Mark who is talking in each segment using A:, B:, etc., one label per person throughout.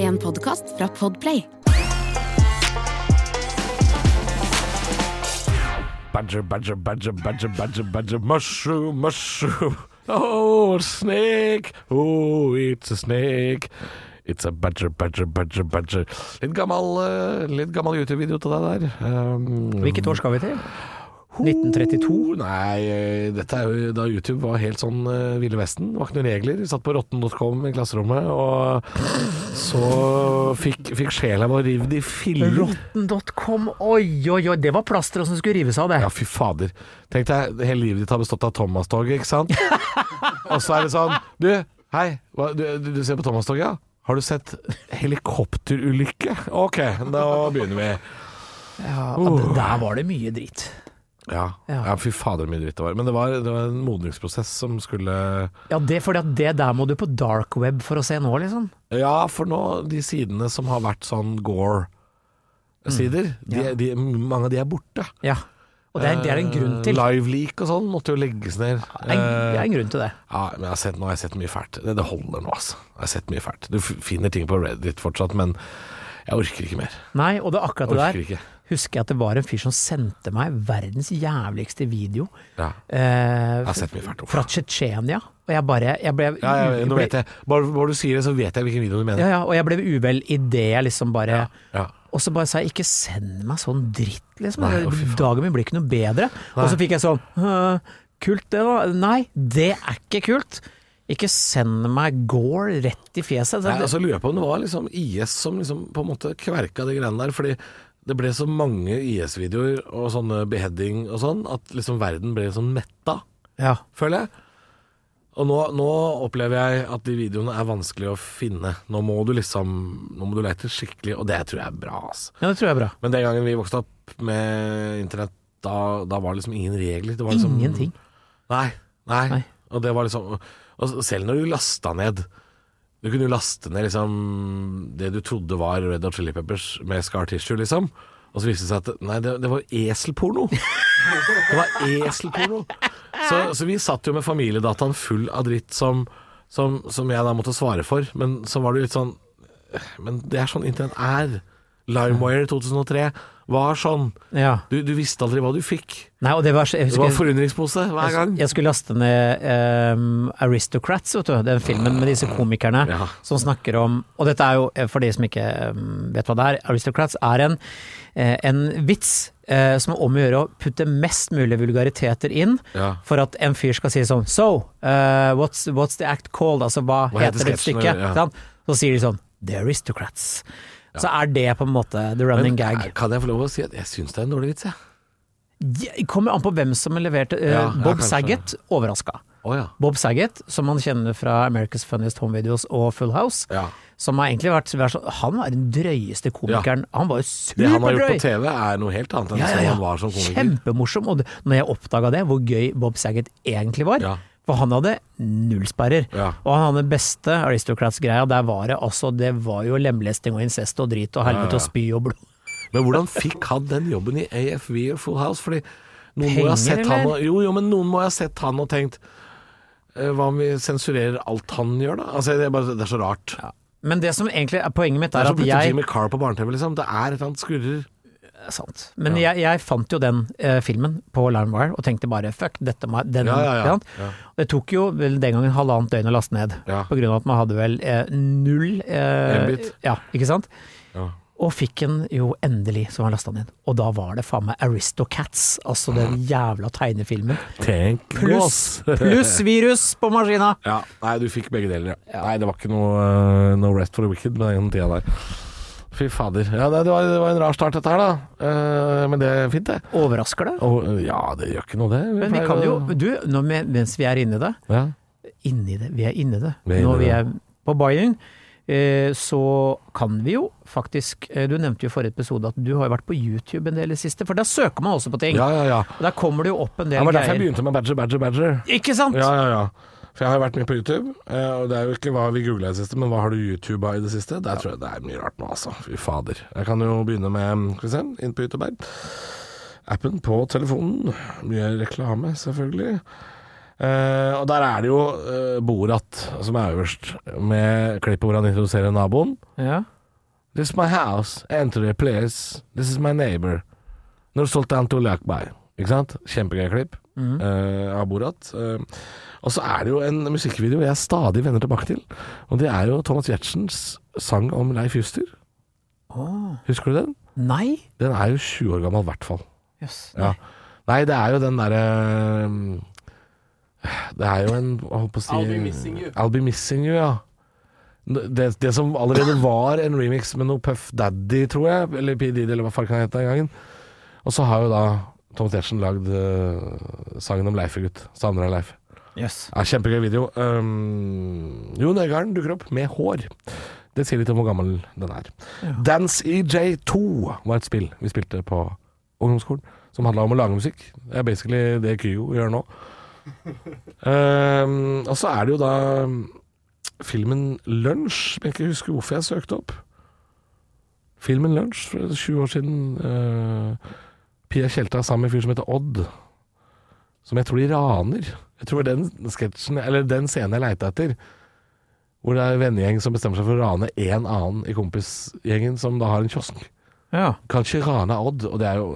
A: en podkast fra Podplay.
B: Badger, badger, badger, badger, badger, badger, mushroom, mushroom. Oh, snake. Oh, it's a snake. It's a badger, badger, badger, badger. Litt gammel, eh, litt gammel YouTube-video til deg der. Um,
C: Hvilket år skal vi til? 1932?
B: Nei, eh, dette er jo da YouTube var helt sånn eh, Ville Vesten. Det var ikke noen regler. Vi satt på rotten.com i klasserommet, og så fikk, fikk sjela vår rivd i filler.
C: Rotten.com, oi, oi, oi. Det var plasteret som skulle rives av, det.
B: Ja, fy fader. Tenk deg, hele livet ditt har bestått av Thomas-toget, ikke sant? Og så er det sånn Du, hei, hva, du, du, du ser på Thomas-toget, ja? Har du sett helikopterulykke? Ok, da begynner vi.
C: Ja, d- Der var det mye dritt.
B: Ja, ja.
C: Ja.
B: fy fader, mye dritt det var. Men det var, det var en modningsprosess som skulle
C: Ja, det er fordi at det der må du på dark web for å se nå, liksom.
B: Ja, for nå, de sidene som har vært sånn Gore-sider, de, de, mange av de er borte.
C: Ja. Og Mm. det er, det er en grunn
B: Eh,
C: til. Det
B: Live-leak og sånn måtte jo legges ned.
C: er, det er en grunn til det.
B: Ja, men jeg har sett, nå har jeg sett mye fælt. Det, det holder nå, altså. Jeg har sett mye fælt. Du f- finner ting på Reddit fortsatt, men jeg orker ikke mer.
C: Nei, og det er akkurat det
B: Orker
C: der.
B: ikke.
C: Husker jeg at det var en fyr som sendte meg verdens jævligste video.
B: Ja.
C: Eh,
B: Jeg har sett mye fælt. Uff.
C: fra Tsjetsjenia, og jeg bare jeg ble,
B: Ja, ja, nå
C: ble-
B: vet jeg. Bare, bare du sier det, så vet jeg hvilken video du
C: Ja,
B: mener.
C: ja, og jeg ble uvel i det jeg liksom bare
B: Ja.
C: Og så bare sa jeg ikke send meg sånn dritt, liksom.
B: Nei, å, fy faen.
C: Dagen min blir ikke noe bedre. Og så fikk jeg sånn «Øh, Kult det, da. Nei, det er ikke kult. Ikke send meg Gore rett i fjeset.
B: Nei,
C: Det,
B: altså, lurer jeg på om det var liksom IS som liksom på en måte kverka de greiene der, fordi det ble så mange IS-videoer og sånne beheading og sånn, at liksom verden ble sånn metta,
C: ja.
B: føler jeg. Og nå, nå opplever jeg at de videoene er vanskelig å finne. Nå må du liksom Nå må du leite skikkelig, og det tror jeg er bra, altså.
C: ja, det tror jeg er bra.
B: Men den gangen vi vokste opp med internett, da, da var det liksom ingen regler. Det var liksom,
C: Ingenting.
B: Nei, nei.
C: Nei.
B: Og det var liksom og s- Selv når du lasta ned Du kunne jo laste ned liksom det du trodde var Red Hot Chili Peppers med Scar Tissue, liksom. Og så viste det seg at Nei, det, det var eselporno. Det var eselporno. Så, så vi satt jo med familiedataen full av dritt som, som, som jeg da måtte svare for. Men så var det litt sånn Men det er sånn internett er. Limewire 2003 var sånn.
C: Ja.
B: Du, du visste aldri hva du fikk.
C: Nei, og det var, så- jeg
B: Det var
C: husker,
B: forundringspose hver gang.
C: Jeg skulle laste ned ehm, Aristocrats, vet du. Den filmen med disse komikerne
B: Ja.
C: som snakker om Og dette er jo, eh, for de som ikke ehm, vet hva det er, Aristocrats er en, eh, en vits eh, som er om å gjøre å putte mest mulig vulgariteter inn.
B: Ja.
C: For at en fyr skal si sånn So, eh, what's, what's the act called? Altså hva,
B: Hva heter
C: heter det
B: sketsjen,
C: stykket?
B: ja.
C: Ikke sant? Så sier de sånn The Aristocrats. Så er det på en måte the running
B: Men
C: gag.
B: Kan jeg få lov å si at jeg syns det er en dårlig vits, jeg.
C: Det kommer an på hvem som leverte. eh,
B: Ja, ja,
C: Bob
B: kanskje.
C: Saget overraska.
B: Å ja.
C: Bob Saget, som man kjenner fra America's Funniest Home Videos og Full House,
B: Ja.
C: som har egentlig vært vært så- Han var den drøyeste komikeren. Han var jo
B: Det han har gjort på
C: superdrøy!
B: TV er noe helt annet enn
C: Ja, ja,
B: sånn
C: ja.
B: han var som komiker.
C: Kjempemorsom. Og det- når jeg oppdaga det, hvor gøy Bob Saget egentlig var
B: Ja.
C: For han hadde null sperrer.
B: Ja.
C: Og han hadde den beste aristocrats-greia. Der var det altså Det var jo lemlesting og incest og drit og helvete og spy og blod.
B: Men hvordan fikk han den jobben i AFV og Full House? Fordi noen må
C: Penger,
B: ha sett han
C: eller?
B: og, Jo, jo, men noen må ha sett han og tenkt eh, Hva om vi sensurerer alt han gjør, da? Altså, det, er bare, det er så rart.
C: Men det som egentlig er poenget mitt,
B: Det
C: er
B: er som
C: at
B: å putte
C: jeg
B: Jimmy Carr på barne-TV, liksom. Det er et eller annet skurrer.
C: Det er sant. Men jeg, jeg fant jo den eh, filmen på LimeWire og tenkte bare fuck, dette må jeg- den,
B: Ja, ja, ja.
C: ikke sant?
B: Ja.
C: Det tok jo vel den gangen halvannet døgn å laste ned,
B: Ja.
C: på grunn av at man hadde vel eh, null eh,
B: Mbit.
C: Ja, ikke sant?
B: Ja.
C: Og fikk den jo endelig, så var den lasta ned. Og da var det faen meg Aristocats, altså den jævla tegnefilmen.
B: Tenk
C: Pluss pluss virus på maskina!
B: Ja, nei, du fikk begge deler, ja. Nei, det var ikke noe eh, no rest for the wicked med den tida der. Fy fader. Ja, det, det, var, det var en rar start, dette her, da. Eh, men det er fint, det.
C: Overrasker det?
B: Og, eh, ja, det gjør ikke noe, det.
C: Men vi
B: pleier
C: kan jo,
B: å-
C: du, nå med, mens vi er inne i det,
B: ja.
C: inni det. Vi er inni det.
B: Vi er inne
C: Når
B: i
C: vi
B: det.
C: er på Bayern, eh, så kan vi jo faktisk eh, Du nevnte jo i forrige episode at du har jo vært på YouTube en del i det siste, for der søker man også på ting.
B: ja, ja, ja.
C: Og Der kommer det jo opp en del
B: Det var derfor jeg
C: greier.
B: begynte med badger, badger, badger.
C: Ikke sant?
B: Ja, ja, ja. For jeg har jo vært mye på YouTube, eh, og det er jo ikke hva vi googla i det siste, men hva har du YouTuba i det siste? Der tror jeg det er mye rart nå, altså. Fy fader. Jeg kan jo begynne med mm, Skal vi se, inn på YouTube her. Appen på telefonen. Mye reklame, selvfølgelig. Eh, og der er det jo eh, Borat som er øverst, med klippet hvor han introduserer naboen.
C: Ja.
B: This is my house. Enter the place. This is my neighbor. Når Sultan Tulak by. Ikke sant? Kjempegøy klipp eh, av Borat. Eh, og så er det jo en musikkvideo jeg stadig vender tilbake til. Og det er jo Thomas Giertsens sang om Leif Juster. Husker du den?
C: Nei?
B: Den er jo 20 år gammel, i hvert fall.
C: Jøss.
B: Ja. Nei, det er jo den derre eh, Det er jo en hva holdt på å si,
A: I'll Be Missing You.
B: I'll Be Missing You, ja. Det, det som allerede var en remix med noe Puff Daddy, tror jeg, eller P. Diddy, eller hva faen han het den gangen. Og så har jo da Thomas Giertsen lagd eh, sangen om Leif-gutt. Savner deg, Leif.
C: Jøss.
B: Ja, kjempegøy video. Um, Jon Øigarden dukker opp med hår. Det sier litt om hvor gammel den er. Dance EJ2 var et spill vi spilte på ungdomsskolen, som handla om å lage musikk. Det er basically det Kyo gjør nå. Um, og så er det jo da um, filmen Lunsj, som jeg ikke husker hvorfor jeg søkte opp. Filmen Lunsj for 20 år siden. Uh, Pia Tjelta sammen med en fyr som heter Odd, som jeg tror de raner. Jeg tror den sketsjen, eller den scenen jeg leita etter, hvor det er en vennegjeng som bestemmer seg for å rane en annen i kompisgjengen, som da har en kiosk.
C: Ja.
B: Kan ikke rane Odd, og det er jo,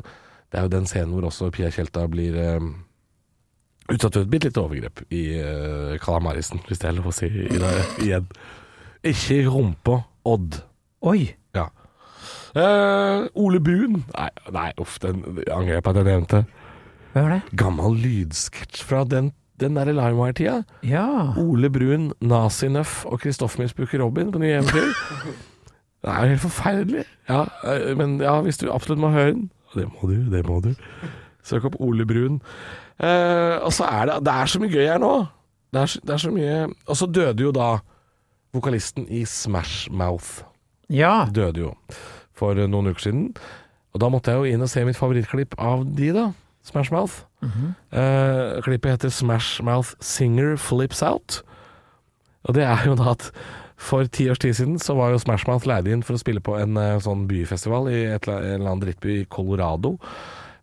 B: det er jo den scenen hvor også Pia Tjelta blir eh, utsatt for et bitte lite overgrep i eh, Kalamarisen, hvis det er lov å si i det, igjen. Ikke rumpa, Odd.
C: Oi.
B: Ja. Eh, Ole Buun Nei, nei uff, den jeg angrer jeg på at jeg nevnte.
C: Hvem var det?
B: Gammel lydsketsj fra den, den der LimeWire-tida.
C: Ja.
B: Ole Brun, Nazi Nøff og Kristoffer Misbruker Robin på nye eventyr. Det er jo helt forferdelig. Ja, eh, men ja, hvis du absolutt må høre den, og det må du, det må du, søk opp Ole Brun. Eh, og så er det Det er så mye gøy her nå. Det er, så- det er så mye Og så døde jo da vokalisten i Smash Mouth.
C: Ja.
B: Døde jo for eh, noen uker siden. Og da måtte jeg jo inn og se mitt favorittklipp av de, da. Smash Mouth.
C: Mhm.
B: Eh, klippet heter Smash Mouth Singer Flips Out. Og det er jo da at for ti års tid siden så var jo Smash Mouth leid inn for å spille på en eh, sånn byfestival i et, la- en eller annen drittby i Colorado.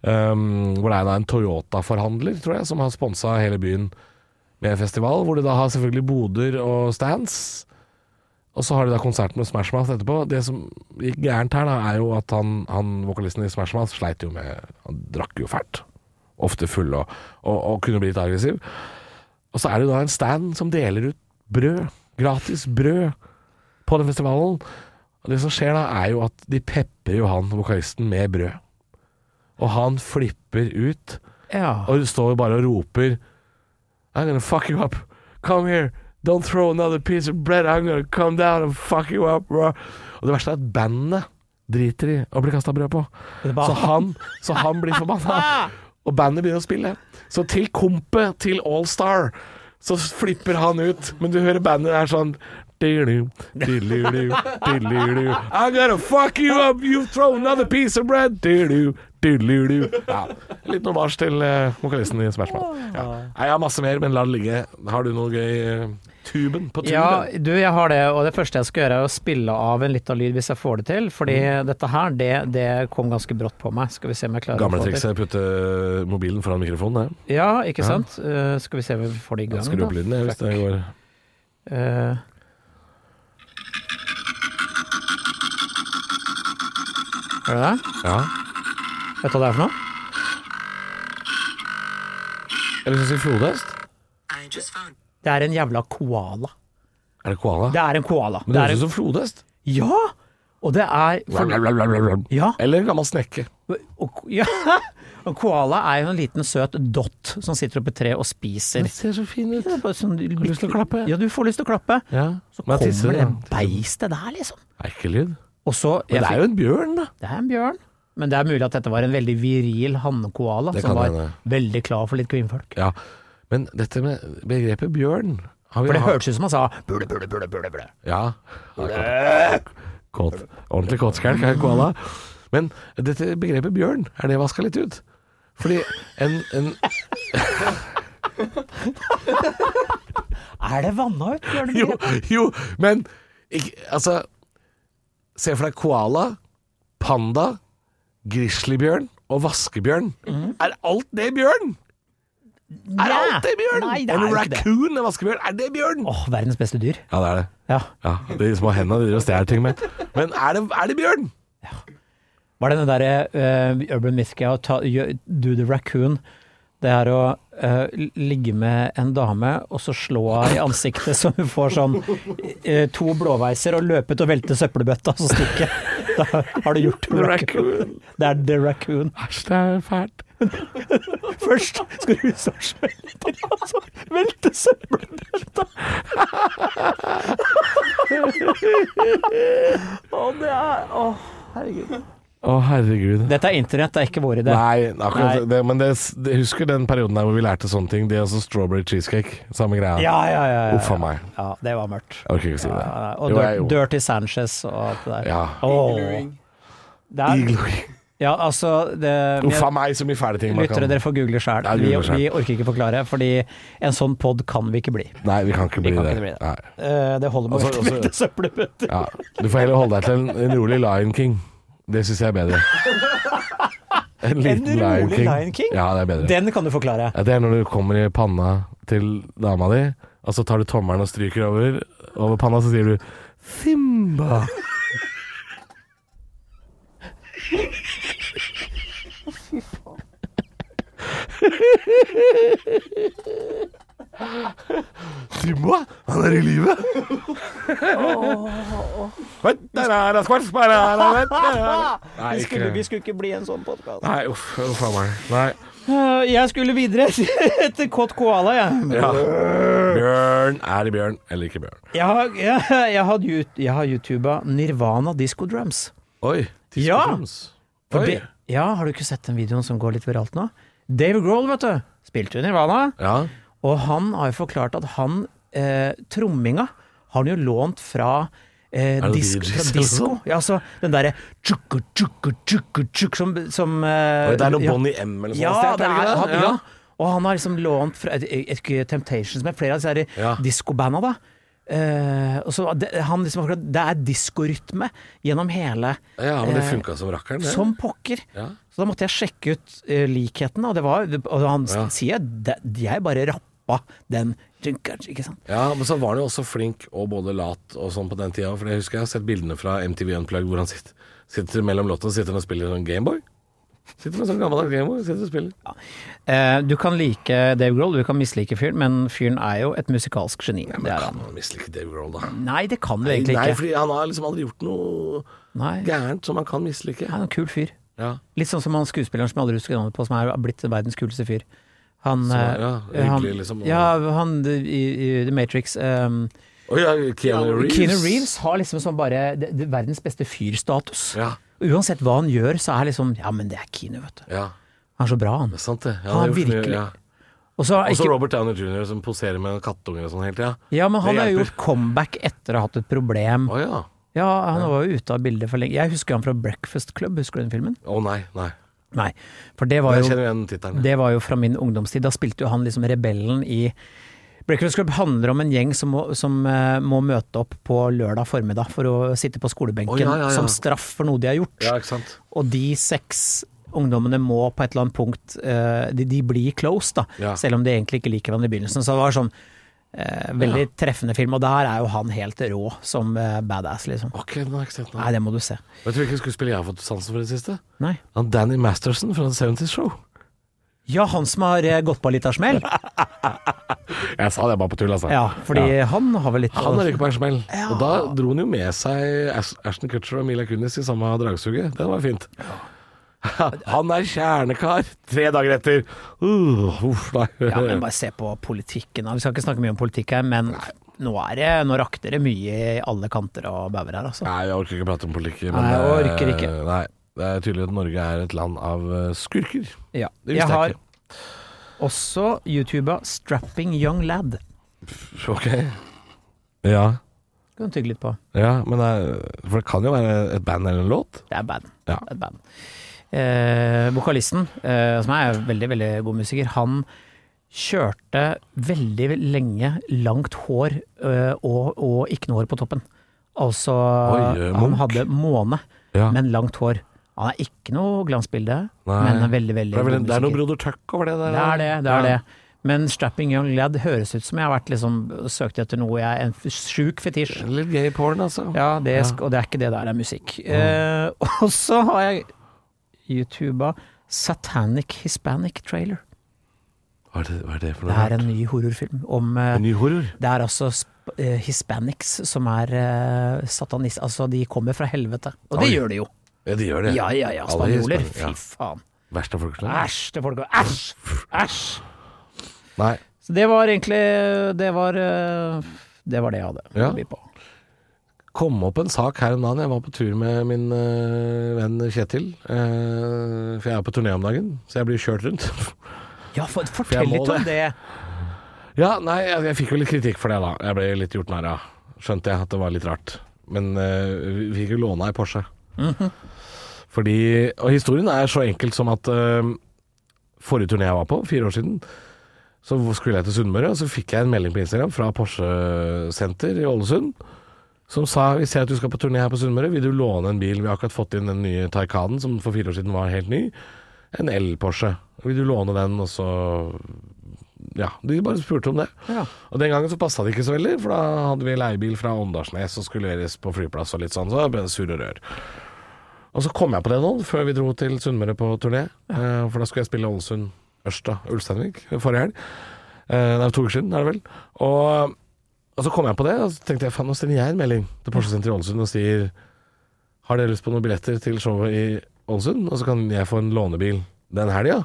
B: Um, hvor det er da en Toyota-forhandler, tror jeg, som har sponsa hele byen med en festival. Hvor de da har selvfølgelig boder og stands. Og så har de da konserten med Smash Mouth etterpå. Det som gikk gærent her, da, er jo at han, han vokalisten i Smash Mouth sleit jo med Han drakk jo fælt ofte full og, og, og kunne bli litt aggressiv. Og så er det jo da en stand som deler ut brød, gratis brød, på den festivalen. Og det som skjer da, er jo at de pepper jo han, vokalisten, med brød. Og han flipper ut,
C: Ja.
B: og står jo bare og roper I'm gonna fuck you up. Come here. Don't throw another piece of bread. I'm gonna come down and fuck you up. Bro. Og det verste er at bandet driter i å bli kasta brød på.
C: Det
B: Så
C: var
B: han, så han blir forbanna. Og bandet begynner å spille. Så til kompet til Allstar så flipper han ut, men du hører bandet er sånn «Dilu, dilu, dilu, dilu. I'm gonna fuck you up, you throw another piece of bread dilu, dilu, dilu». ja. Litt noen vars til eh, vokalisten i Smash Mouth. Ja. Nei, Jeg har masse mer, men la det ligge. Har du noe gøy? eh, Tuben på tuben?
C: Ja, du, jeg har det, og det første jeg skal gjøre er å spille av en liten lyd hvis jeg får det til. Fordi
B: Mm.
C: dette her, det, det kom ganske brått på meg. Skal vi se om jeg klarer
B: Gamle
C: å få det til.
B: trikset putte mobilen foran mikrofonen. det.
C: Ja, ikke sant. Eh, skal vi se om vi får det i gang,
B: Skru opp lyden, jeg, hvis det går.
C: Eh, Hører du det?
B: Ja.
C: Vet du hva det er for noe?
B: Eller skal vi si flodhest?
D: I just found
C: Det er en jævla koala.
B: Er det koala?
C: Det er en koala.
B: Men det
C: er
B: høres
C: en...
B: ut som flodhest.
C: Ja! Og det er Ja.
B: Eller en gammel snekke.
C: Og, ja. og koala er jo en liten søt dott som sitter oppe i treet og spiser.
B: ser så fin ut.
C: Det er bare sånn, du
B: lyst til å klappe?
C: Ja, du får lyst til å klappe.
B: Ja.
C: Så
B: Men
C: kommer
B: jeg tisser,
C: det
B: ja.
C: beistet der, liksom.
B: Erkelyd.
C: Og så
B: Men det er jo en bjørn, da.
C: Det er en bjørn. Men det er mulig at dette var en veldig viril hannkoala
B: Det
C: som
B: kan
C: var
B: hende.
C: veldig klar for litt kvinnfolk.
B: Ja. Men dette med begrepet bjørn har vi
C: For det
B: hatt-
C: hørtes ut som han sa bule, bule, bule, bule, bule.
B: Ja. Kåt. Ordentlig kåtskjelk er koala. Men dette begrepet bjørn, er det vaska litt ut? Fordi en, en
C: Er det vanna ut, Bjørn?
B: Jo, jo men ikke, altså Se for deg koala, panda, grizzlybjørn og vaskebjørn.
C: Mhm.
B: Er alt det bjørn? Er alt det bjørn?
C: Nei, det er
B: en
C: jo ikke det.
B: raccoon er vaskebjørn. Er det bjørn?
C: Åh, verdens beste dyr.
B: Ja, det er det.
C: Ja.
B: Ja, De små hendene de driver og stjeler ting med. Men er det, er det bjørn?
C: Var det den derre eh, Urban Myth Guy, å ta- gjø- do the raccoon? Det er å eh, ligge med en dame og så slå henne i ansiktet så hun får sånn eh, to blåveiser og løpe ut og velte søppelbøtta og så stikke. Da har du gjort the raccoon. Det er the raccoon.
B: Æsj, det er fælt.
C: Først skal du så smelte og så velte søppelbøtta. Å, det er Å, herregud.
B: Å, herregud.
C: Dette er internett, det er ikke vår idé.
B: Nei, akkurat
C: Nei.
B: Det, men det, det, husker den perioden der hvor vi lærte sånne ting. Det er altså strawberry cheesecake. Samme greia.
C: Ja, ja, ja. ja,
B: Uff a meg.
C: ja det var mørkt.
B: Jeg orker ikke å si det.
C: Ja, ja, og
B: Jo, jeg- jo.
C: Dirt, Dirty Sanchez og alt det der.
B: Ja.
C: Åh. Det er,
B: Igloing.
C: ja, altså det,
B: Uff
C: jeg,
B: a meg, så mye fæle ting man
C: Lyttere,
B: kan
C: dere får google sjæl.
B: Ja,
C: Vi,
B: google selv.
C: vi orker ikke forklare, fordi en sånn pod kan vi ikke bli.
B: Nei, vi kan ikke bli
C: kan
B: det.
C: ikke bli det.
B: Nei.
C: Eh, det holder med
B: Altså,
C: å
B: altså-
C: velte søppelbøtter.
B: Ja. Du får heller holde deg til en, en rolig Lion King. Det syns jeg er bedre. En liten Lion
C: rolig
B: King.
C: Lion King?
B: Ja, det er bedre.
C: Den kan du forklare.
B: Ja, det er når du kommer i panna til dama di, og så tar du tommelen og stryker over, over panna, så sier du Simba. Simba, han er i live! Nei,
C: Vi skulle, vi
B: ikke
C: skulle ikke bli en sånn podkast.
B: Nei, uff, uff a meg. Nei.
C: jeg skulle videre til Kåt koala, jeg.
B: Ja. Bjørn. Er det bjørn eller ikke bjørn?
C: Jeg har, jeg, jeg har, yout- jeg har YouTuba Nirvana Disco Drums.
B: Oi. Disco
C: Ja.
B: Drums.
C: For
B: Oi.
C: det- ja, har du ikke sett den videoen som går litt viralt nå? Dave Grohl, vet du. Spilte jo Nirvana.
B: Ja.
C: Og han har jo forklart at han eh, Tromminga har han jo lånt fra eh,
B: det
C: disk,
B: DJs
C: fra
B: eller
C: disko.
B: noe
C: Ja, altså den derre tjukku, tjukku, tjukku, tjukk som, som eh,
B: Oi, det er noe
C: ja.
B: Bonnie M eller noe
C: Ja,
B: sånt.
C: det er, han,
B: det?
C: ja. Og han har liksom lånt fra et, et, et Temptations med flere av disse her
B: Ja.
C: diskobanda, da. Eh, og så, det, han liksom, har forklart- det er diskorytme gjennom hele
B: Ja. men det
C: eh,
B: funka som rakkeren, det.
C: Som pokker.
B: Ja.
C: Så da måtte jeg sjekke ut eh, likheten, og, det var, og han
B: Ja.
C: sier de, jeg bare rappa den ikke sant?
B: ja, men så var han jo også flink og både lat og sånn på den tida. For jeg husker jeg har sett bildene fra MTV Unplugged hvor han sitter, sitter mellom låtene sitter han og spiller en sånn Gameboy. Sitter med en sånn gammeldags Gameboy sitter og spiller.
C: Eh, du kan like Dave Grohl, du kan mislike fyren, men fyren er jo et musikalsk geni. det er
B: Kan
C: han.
B: man mislike Dave Grohl, da?
C: Nei, det kan du egentlig
B: Nei,
C: ikke.
B: fordi han har liksom aldri gjort noe
C: Nei, han
B: gærent som han kan mislike.
C: er en kul fyr.
B: Ja.
C: Litt sånn som han skuespilleren som jeg aldri husker navnet på, som er blitt verdens kuleste fyr. Han,
B: Som er,
C: eh,
B: ja,
C: han,
B: hyggelig, liksom.
C: ja, han i, i The Matrix. Um,
B: Å ja, Keanu Reeves.
C: Keanu Reeves har liksom sånn bare det, det, verdens beste fyrstatus.
B: Ja,
C: Uansett hva han gjør, så er liksom Ja, men det er Keanu, vet du.
B: ja.
C: Han er så bra, han.
B: Det er sant, det. Ja,
C: Han
B: det er gjort mye,
C: virkelig-
B: ja.
C: Og så er
B: Og så
C: ikke,
B: Robert Downer jr. som poserer med en kattunge og sånn hele tida.
C: ja, men han
B: det
C: har
B: hjelper.
C: gjort comeback etter å ha hatt et problem.
B: Å ja.
C: Ja, han var jo ute av bildet for lenge. Jeg husker han fra Breakfast Club, husker du den filmen?
B: Å nei, nei.
C: Nei, for det var
B: Jeg
C: jo,
B: kjenner igjen tittelen.
C: det var jo fra min ungdomstid. Da spilte jo han liksom rebellen i Breakfast Club handler om en gjeng som må, som eh, må møte opp på lørdag formiddag for å sitte på skolebenken
B: Å, ja, ja, ja.
C: som straff for noe de har gjort.
B: Ja, ikke sant.
C: Og de seks ungdommene må på et eller annet punkt eh, de, de blir close, da.
B: Ja.
C: Selv om de egentlig ikke liker hverandre i begynnelsen. Så det var sånn eh, veldig treffende film. Og der er jo han helt rå som eh, badass, liksom.
B: Ok, den har jeg ikke sett nå.
C: Nei, det må du se.
B: Vet du hvilken skuespiller jeg har fått sansen for i det siste?
C: Nei.
B: Han Danny Masterson fra The 70's Show.
C: Ja, han som har eh, gått på litt av smell.
B: Jeg sa det bare på tull, altså.
C: Ja, fordi
B: Ja.
C: han har vel litt
B: Han er ikke på en smell. Og da dro han jo med seg Ash- Ashton Kutcher og Mila Kunis i samme dragsuget. Det var fint. Han er kjernekar tre dager etter. Uh, uff, nei.
C: Ja, men bare se på politikken. da. Vi skal ikke snakke mye om politikk her, men nå, er det, nå rakter det mye i alle kanter og bauger her, altså.
B: Nei, jeg orker ikke prate om politikk.
C: Nei, jeg orker ikke.
B: eh, Nei, det er tydelig at Norge er et land av eh, skurker.
C: Ja.
B: Det visste
C: Jeg
B: jeg
C: har
B: ikke.
C: også YouTuba 'Strapping Young Lad'.
B: Ok. Ja,
C: Kan du tygge litt på.
B: ja men det er, for det kan jo være et band eller en låt.
C: Det er band.
B: Ja.
C: Det er band. Eh, vokalisten, eh, som er veldig, veldig god musiker, han kjørte veldig lenge langt hår eh, og, og ikke noe hår på toppen. Altså,
B: Oi, eh,
C: han
B: Munch.
C: hadde måne,
B: Ja.
C: men langt hår. Han er ikke noe glansbilde,
B: Nei.
C: men en veldig, veldig
B: det, er vel,
C: god
B: det er noe
C: musiker.
B: Broder Tuck over det der.
C: Det er det, det er
B: Ja.
C: det. Men strapping young lad høres ut som jeg har vært liksom, søkt etter noe jeg er en f- sjuk fetisj.
B: Litt gay porn, altså.
C: Ja, det, sk- og det er ikke det der er musikk. Eh, og så har jeg YouTuba Satanic Hispanic Trailer.
B: Hva, er det, hva er det for
C: Det
B: noe?
C: er en ny horrorfilm om eh,
B: En ny horror?
C: Det er altså sp- eh, hispanics som er eh, satanist... Altså, de kommer fra helvete. Og det
B: Oi.
C: gjør de jo.
B: Ja, de gjør det.
C: Ja, ja, ja.
B: Alle i
C: Spanjoler.
B: Span-
C: Fy
B: ja.
C: faen.
B: Verst av folkeslag?
C: Æsj til folk. Æsj! Æsj!
B: Nei.
C: Så det var egentlig Det var eh, det, var det jeg hadde
B: Ja.
C: å by på.
B: kom opp en sak her en dag. Jeg var på tur med min øh, venn Kjetil. øh, for jeg er på turné om dagen, så jeg blir kjørt rundt.
C: Ja, for, fortell
B: må
C: litt om det.
B: ja, nei, jeg, jeg fikk jo litt kritikk for det, da. Jeg ble litt gjort narr av. Skjønte jeg at det var litt rart. Men øh, vi fikk jo låna ei Porsche. Fordi Og historien er så enkel som at øh, forrige turné jeg var på, fire år siden, så skulle jeg til Sunnmøre, og så fikk jeg en melding på Instagram fra Porsche Senter i Ålesund. som sa vi ser at du skal på turné her på Sunnmøre, vil du låne en bil? Vi har akkurat fått inn den nye Taycanen som for fire år siden var helt ny. En el-Porsche. Vil du låne den? Og så Ja, de bare spurte om det.
C: Ja.
B: Og den gangen så passa det ikke så veldig, for da hadde vi leiebil fra Åndalsnes og skulle leveres på flyplass og litt sånn, så det ble det surr og rør. Og så kom jeg på det nå, før vi dro til Sunnmøre på turné, eh, for da skulle jeg spille Ålesund, Ørsta, Ulsteinvik forrige helg. Eh, Det er to uker siden, er det vel. Og og så kom jeg på det, og så tenkte jeg faen, nå sender jeg en melding til Porsche Senter i Ålesund og sier Har dere lyst på noen billetter til showet i Ålesund, og så kan jeg få en lånebil den helga?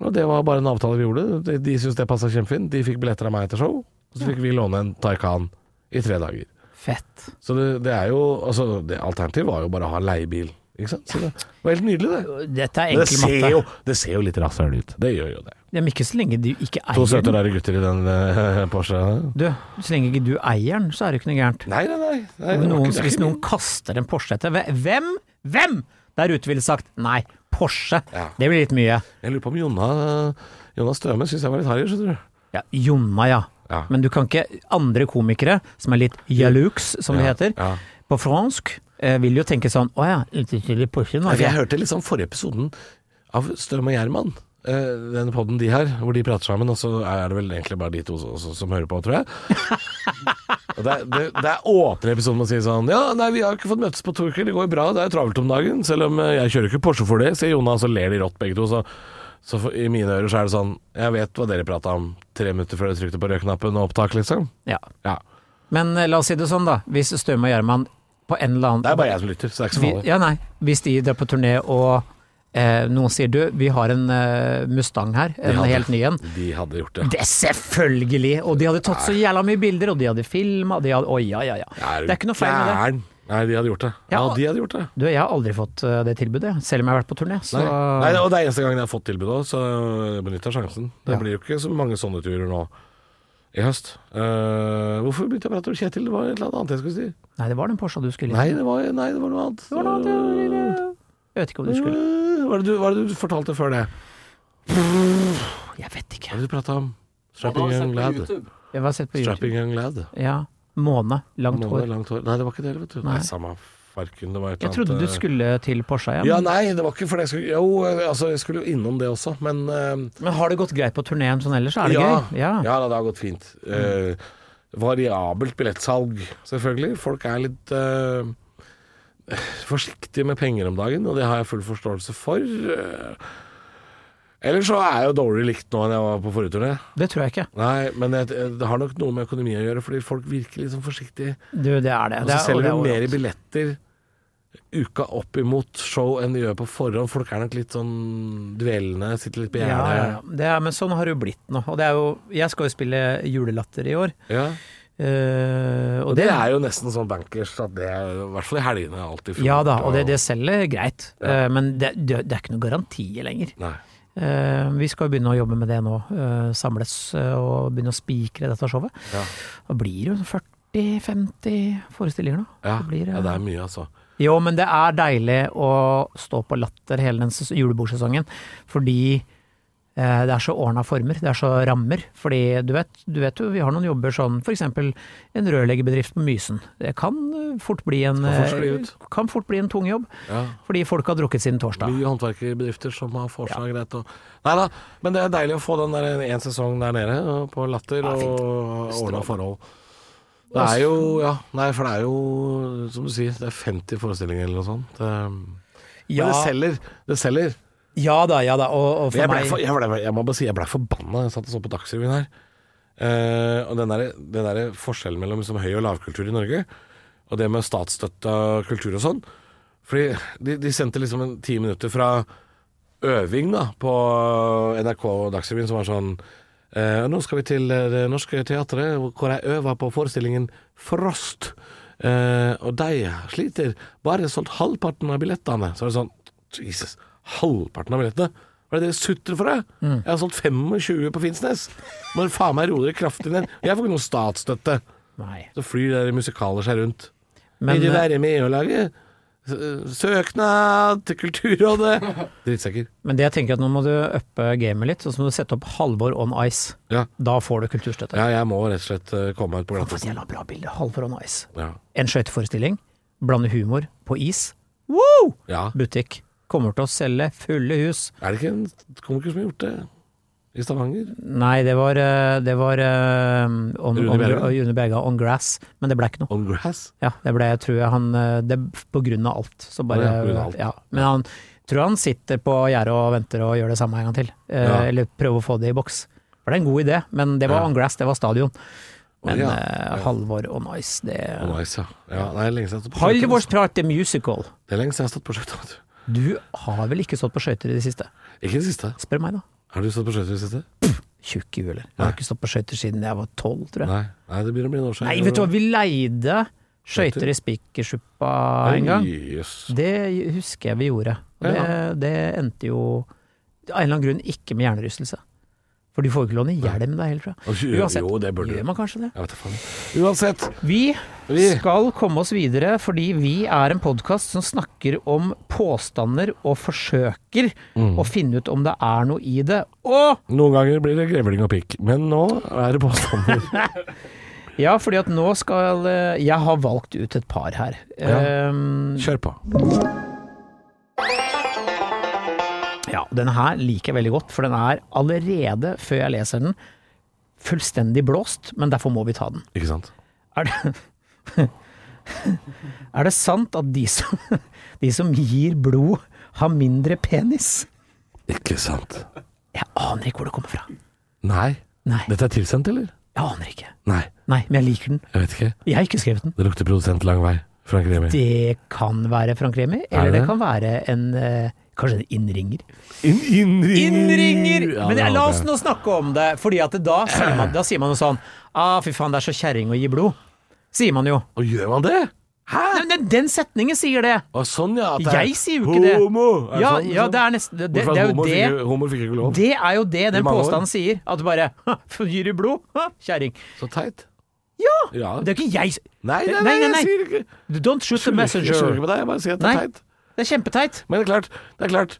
B: Og det var bare en avtale vi gjorde. De, de syntes det passa kjempefint. De fikk billetter av meg til show, og så fikk vi låne en Taycan i tre dager.
C: Fett.
B: Så det, det er jo Altså, det alternativet var jo bare å ha en leiebil, ikke sant? Så det var helt nydelig, det.
C: Dette er
B: Men Det
C: enkel
B: ser,
C: matte.
B: jo, det ser jo litt rasshøl ut. Det gjør jo det.
C: Ja, men ikke så lenge du ikke
B: To
C: eier
B: søte,
C: den.
B: rare gutter i den eh, Porsche.
C: Du, så lenge ikke du eier den, så er det jo ikke noe gærent.
B: Nei, nei, nei. nei det var
C: Noen,
B: ikke- det er
C: hvis
B: ikke
C: noen kaster en Porsche etter Hvem? Hvem der ute ville sagt nei, Porsche.
B: Ja.
C: Det blir litt mye.
B: Jeg lurer på om Jonna, Jonna Støme syns jeg var litt harry, skjønner du.
C: Ja, Jonna, ja.
B: Ja.
C: Men du kan ikke Andre komikere, som er litt jalux, som det
B: Ja,
C: heter,
B: ja.
C: på fransk, eh, vil jo tenke sånn Å ja, litt til Porsche
B: Nei, for
C: Norge.
B: jeg hørte liksom forrige episoden av Støme og Gjerman, eh, den podden de har, hvor de prater sammen, og så er det vel egentlig bare de to som, som- som hører på, tror jeg. Og det, er- det, det er åpne episoden med å si sånn Ja, nei, vi har ikke fått møttes på to uker, det går jo bra, det er jo travelt om dagen. Selv om eh, jeg kjører ikke Porsche for det, sier Jonna, og så ler de rått begge to. Så, så for, i mine ører så er det sånn Jeg vet hva dere prata om tre minutter før dere trykte på rød-knappen og opptak, liksom.
C: Ja.
B: Ja.
C: Men eh, la oss si det sånn, da. Hvis Støme og Gjerman på en eller annen
B: Det er bare jeg som lytter, så det er ikke så
C: vi,
B: farlig.
C: Ja, nei. Hvis de drar på turné og eh, noen sier du, vi har en eh, Mustang her, en
B: hadde-
C: helt ny en.
B: De hadde gjort det.
C: Det selvfølgelig! Og de hadde tatt så jævla mye bilder, og de hadde filma, de hadde Å ja, ja, ja. Det er ikke noe feil med det.
B: Gæren. Nei, de hadde gjort det. Ja,
C: Ja,
B: de hadde gjort det.
C: Du, jeg har aldri fått eh, det tilbudet, selv om jeg har vært på turné. Så
B: Nei. Nei, og det er eneste gang jeg har fått tilbud òg, så jeg benytter sjansen. Det
C: Ja.
B: blir jo ikke så mange sånne turer nå i høst. Eh, hvorfor begynte jeg å prate om Kjetil? Det var et eller annet annet jeg skulle si.
C: Nei, det var den Porscha du skulle
B: Nei, det var, nei, det var noe annet.
C: Det var noe annet jeg ville- Jeg vet ikke om du skulle
B: Eh, Hva er det du, hva er det du fortalte før det?
C: Jeg vet
B: Hva
C: ikke.
B: er det du prata om? Strapping young lad.
C: Jeg har sett på YouTube.
B: Strapping young lad.
C: Ja. Måne. Langt
B: Måne,
C: hår.
B: langt hår. Nei, det var ikke det, vet du. Nei,
C: Nei.
B: samme farken. Det var et eller
C: Jeg
B: annet
C: trodde du
B: eh,
C: skulle til Porscha igjen.
B: Ja, nei, det var ikke fordi jeg skulle Jo, eh, altså, jeg skulle jo innom det også, men eh,
C: Men har det gått greit på turneen sånn ellers? Er det
B: ja,
C: gøy?
B: Ja. da, det har gått fint. Eh, variabelt billettsalg, selvfølgelig. Folk er litt eh, forsiktige med penger om dagen, og det har jeg full forståelse for. Eh, Ellers så er jeg jo dårligere likt nå enn jeg var på forrige turné.
C: Det tror jeg ikke.
B: Nei, men jeg, det har nok noe med økonomi å gjøre, fordi folk virker litt sånn forsiktige.
C: Du, det er det.
B: Og så
C: det er,
B: selger
C: det er
B: de mer
C: overalt.
B: billetter uka opp imot show enn de gjør på forhånd. Folk er nok litt sånn dvelende, sitter litt på
C: ja, ja, ja.
B: gjerdet.
C: Det er, men sånn har det jo blitt nå. Og det er jo, jeg skal jo spille Julelatter i år.
B: Ja.
C: Eh, og
B: Og det er jo nesten sånn bankers at det er, i hvert fall i helgene, alltid fullt.
C: Ja da, og det,
B: og-
C: det selger greit. Eh, men det, det, det er ikke noen garantier lenger.
B: Nei.
C: Eh, vi skal jo begynne å jobbe med det nå. eh, samles eh, og begynne å spikre dette showet.
B: Ja.
C: Da blir det jo 40-50 forestillinger nå.
B: Ja.
C: Det blir, eh,
B: ja, det er mye, altså.
C: Jo, men det er deilig å stå på latter hele den ses- julebordsesongen, fordi eh, det er så ordna former, det er så rammer. Fordi du vet, du vet jo, vi har noen jobber sånn f.eks. en rørleggerbedrift på Mysen. Det kan eh, fort bli en,
B: Kan fort skli
C: eh,
B: ut.
C: kan fort bli en tung jobb,
B: Ja.
C: fordi folk har drukket siden torsdag.
B: Mye håndverkerbedrifter som har forslag greit og Nei da, men det er deilig å få den der én sesong der nede og på Latter
C: Ja, fint.
B: og ordna
C: Strålende.
B: forhold. Det er jo Ja, nei, for det er jo, som du sier, det er 50 forestillinger eller noe sånt. Det,
C: Ja,
B: Men det selger. Det selger.
C: ja da, ja da. Og, og
B: Jeg,
C: for
B: ble
C: meg
B: for, jeg, ble, jeg må bare si jeg ble forbanna. Jeg satt og så på Dagsrevyen her. Eh, og den der, den der forskjellen mellom liksom, høy- og lavkultur i Norge, og det med statsstøtta kultur og sånn Fordi de, de sendte liksom en ti minutter fra øving da på eh, NRK og Dagsrevyen som var sånn eh, Nå skal vi til Det Norske Teatret, hvor jeg øver på forestillingen Frost. Eh, og de sliter. Bare solgt halvparten av billettene. Så er det sånn Jesus, halvparten av billettene? Hva er det dere sutrer for? da?
C: Mm.
B: Jeg har solgt 25 på Finnsnes. Må dere faen meg roe dere kraftig ned. Jeg får ikke noe statsstøtte.
C: Nei.
B: Så flyr dere musikaler seg rundt.
C: Men,
B: Vil du
C: eh,
B: være med og lage s- eh, søknad til Kulturrådet? Drittsekker.
C: men det jeg tenker at nå må du uppe gamet litt, og så må du sette opp Halvor on ice.
B: Ja.
C: Da får du kulturstøtte.
B: ja, jeg må rett og slett eh, komme meg ut på
C: For et
B: glattisen.
C: jævla bra bilde. Halvor on ice.
B: Ja.
C: En skøyteforestilling, blande humor på is. Woo!
B: ja.
C: Butikk. Kommer til å selge fulle hus.
B: Er det ikke en komiker som har gjort det? I Stavanger?
C: Nei, det var, eh, det var eh, on,
B: Rune
C: on,
B: Berga?
C: Rune Berga on grass, men det ble ikke noe.
B: On grass?
C: Ja, det ble, jeg tror jeg han eh, Det er på grunn av alt. Så bare,
B: Ja, på grunn av alt.
C: Ja. Men han tror han sitter på gjerdet og venter og gjør det samme en gang til. Eh,
B: Ja.
C: Eller prøver å få det i boks. For det er en god idé, men det var
B: Ja.
C: on grass, det var stadion. Men
B: ja,
C: eh, Halvor og Nice, det
B: On ice, ja. ja. Nei, det er lenge siden jeg har stått på
C: Halvors
B: skøyter.
C: Prat the Musical.
B: Det er lenge siden jeg har stått på skøyter. vet du.
C: Du har vel ikke stått på skøyter i det siste?
B: Ikke det siste.
C: Spør meg, da.
B: Har du stått på skøyter i det siste?
C: Tjukk i huet, eller? Jeg har ikke stått på skøyter siden jeg var tolv, tror jeg.
B: Nei. Nei, det begynner å bli en år siden.
C: Nei, vet du hva, vi leide skøyter i Spikersuppa en gang.
B: Jøss.
C: Det husker jeg vi gjorde. Og Det, det endte jo av en eller annen grunn ikke med hjernerystelse. For du får jo ikke låne hjelm der heller, tror jeg.
B: Altså,
C: Uansett.
B: Jo, det burde du.
C: Gjør man kanskje det?
B: Jeg vet da faen. Uansett.
C: Vi
B: Vi-
C: skal komme oss videre, fordi vi er en podkast som snakker om påstander og forsøker å finne ut om det er noe i det. Og
B: Noen ganger blir det grevling og pikk, men nå er det påstander.
C: Ja, fordi at nå skal eh, Jeg har valgt ut et par her. Ehm,
B: Kjør på.
C: Ja, denne her liker jeg veldig godt, for den er allerede, før jeg leser den, fullstendig blåst, men derfor må vi ta den.
B: Ikke sant?
C: Er det, er det sant at de som, de som gir blod, har mindre penis?
B: Ikke sant.
C: Jeg aner ikke hvor det kommer fra.
B: Nei.
C: Nei,
B: Dette er tilsendt, eller?
C: jeg aner ikke.
B: Nei,
C: Nei, men jeg liker den.
B: jeg vet ikke.
C: Jeg har ikke skrevet den.
B: Det lukter produsent lang vei. Frank Remi.
C: Det kan være Frank Remi, eller
B: det?
C: det kan være en eh, Kanskje en innringer?
B: In, innringer!
C: Innringer!
B: Ja,
C: Men
B: det
C: jeg, la
B: håper
C: oss
B: jeg.
C: nå snakke om det, Fordi at da sier man, da sier man jo sånn ah, fy faen, det er så kjerring å gi blod. Sier man jo.
B: Og gjør man det? Hæ?
C: Nei, men den setningen sier det!
B: Og sånn, ja. at det er
C: Jeg sier jo ikke det.
B: Homo! Er
C: Ja,
B: sånn,
C: ja,
B: sånn?
C: det er nesten Det, det,
B: Hvorfor
C: det er
B: homo
C: jo det.
B: fikk ikke- Homo fikk ikke lov.
C: Det er jo det
B: I
C: den
B: mange år.
C: påstanden sier. At du bare «Ha, Gir du blod? Ha, Kjerring.
B: Så teit.
C: Ja!
B: Ja.
C: Det er ikke jeg s-
B: Nei, nei, nei,
C: Nei, nei, nei.
B: jeg sier ikke
C: Don't shoot
B: Jeg
C: the
B: skjønner
C: messenger.
B: ikke på deg, jeg bare sier at det er
C: Nei.
B: teit.
C: Det er kjempeteit.
B: Men det er klart, det er klart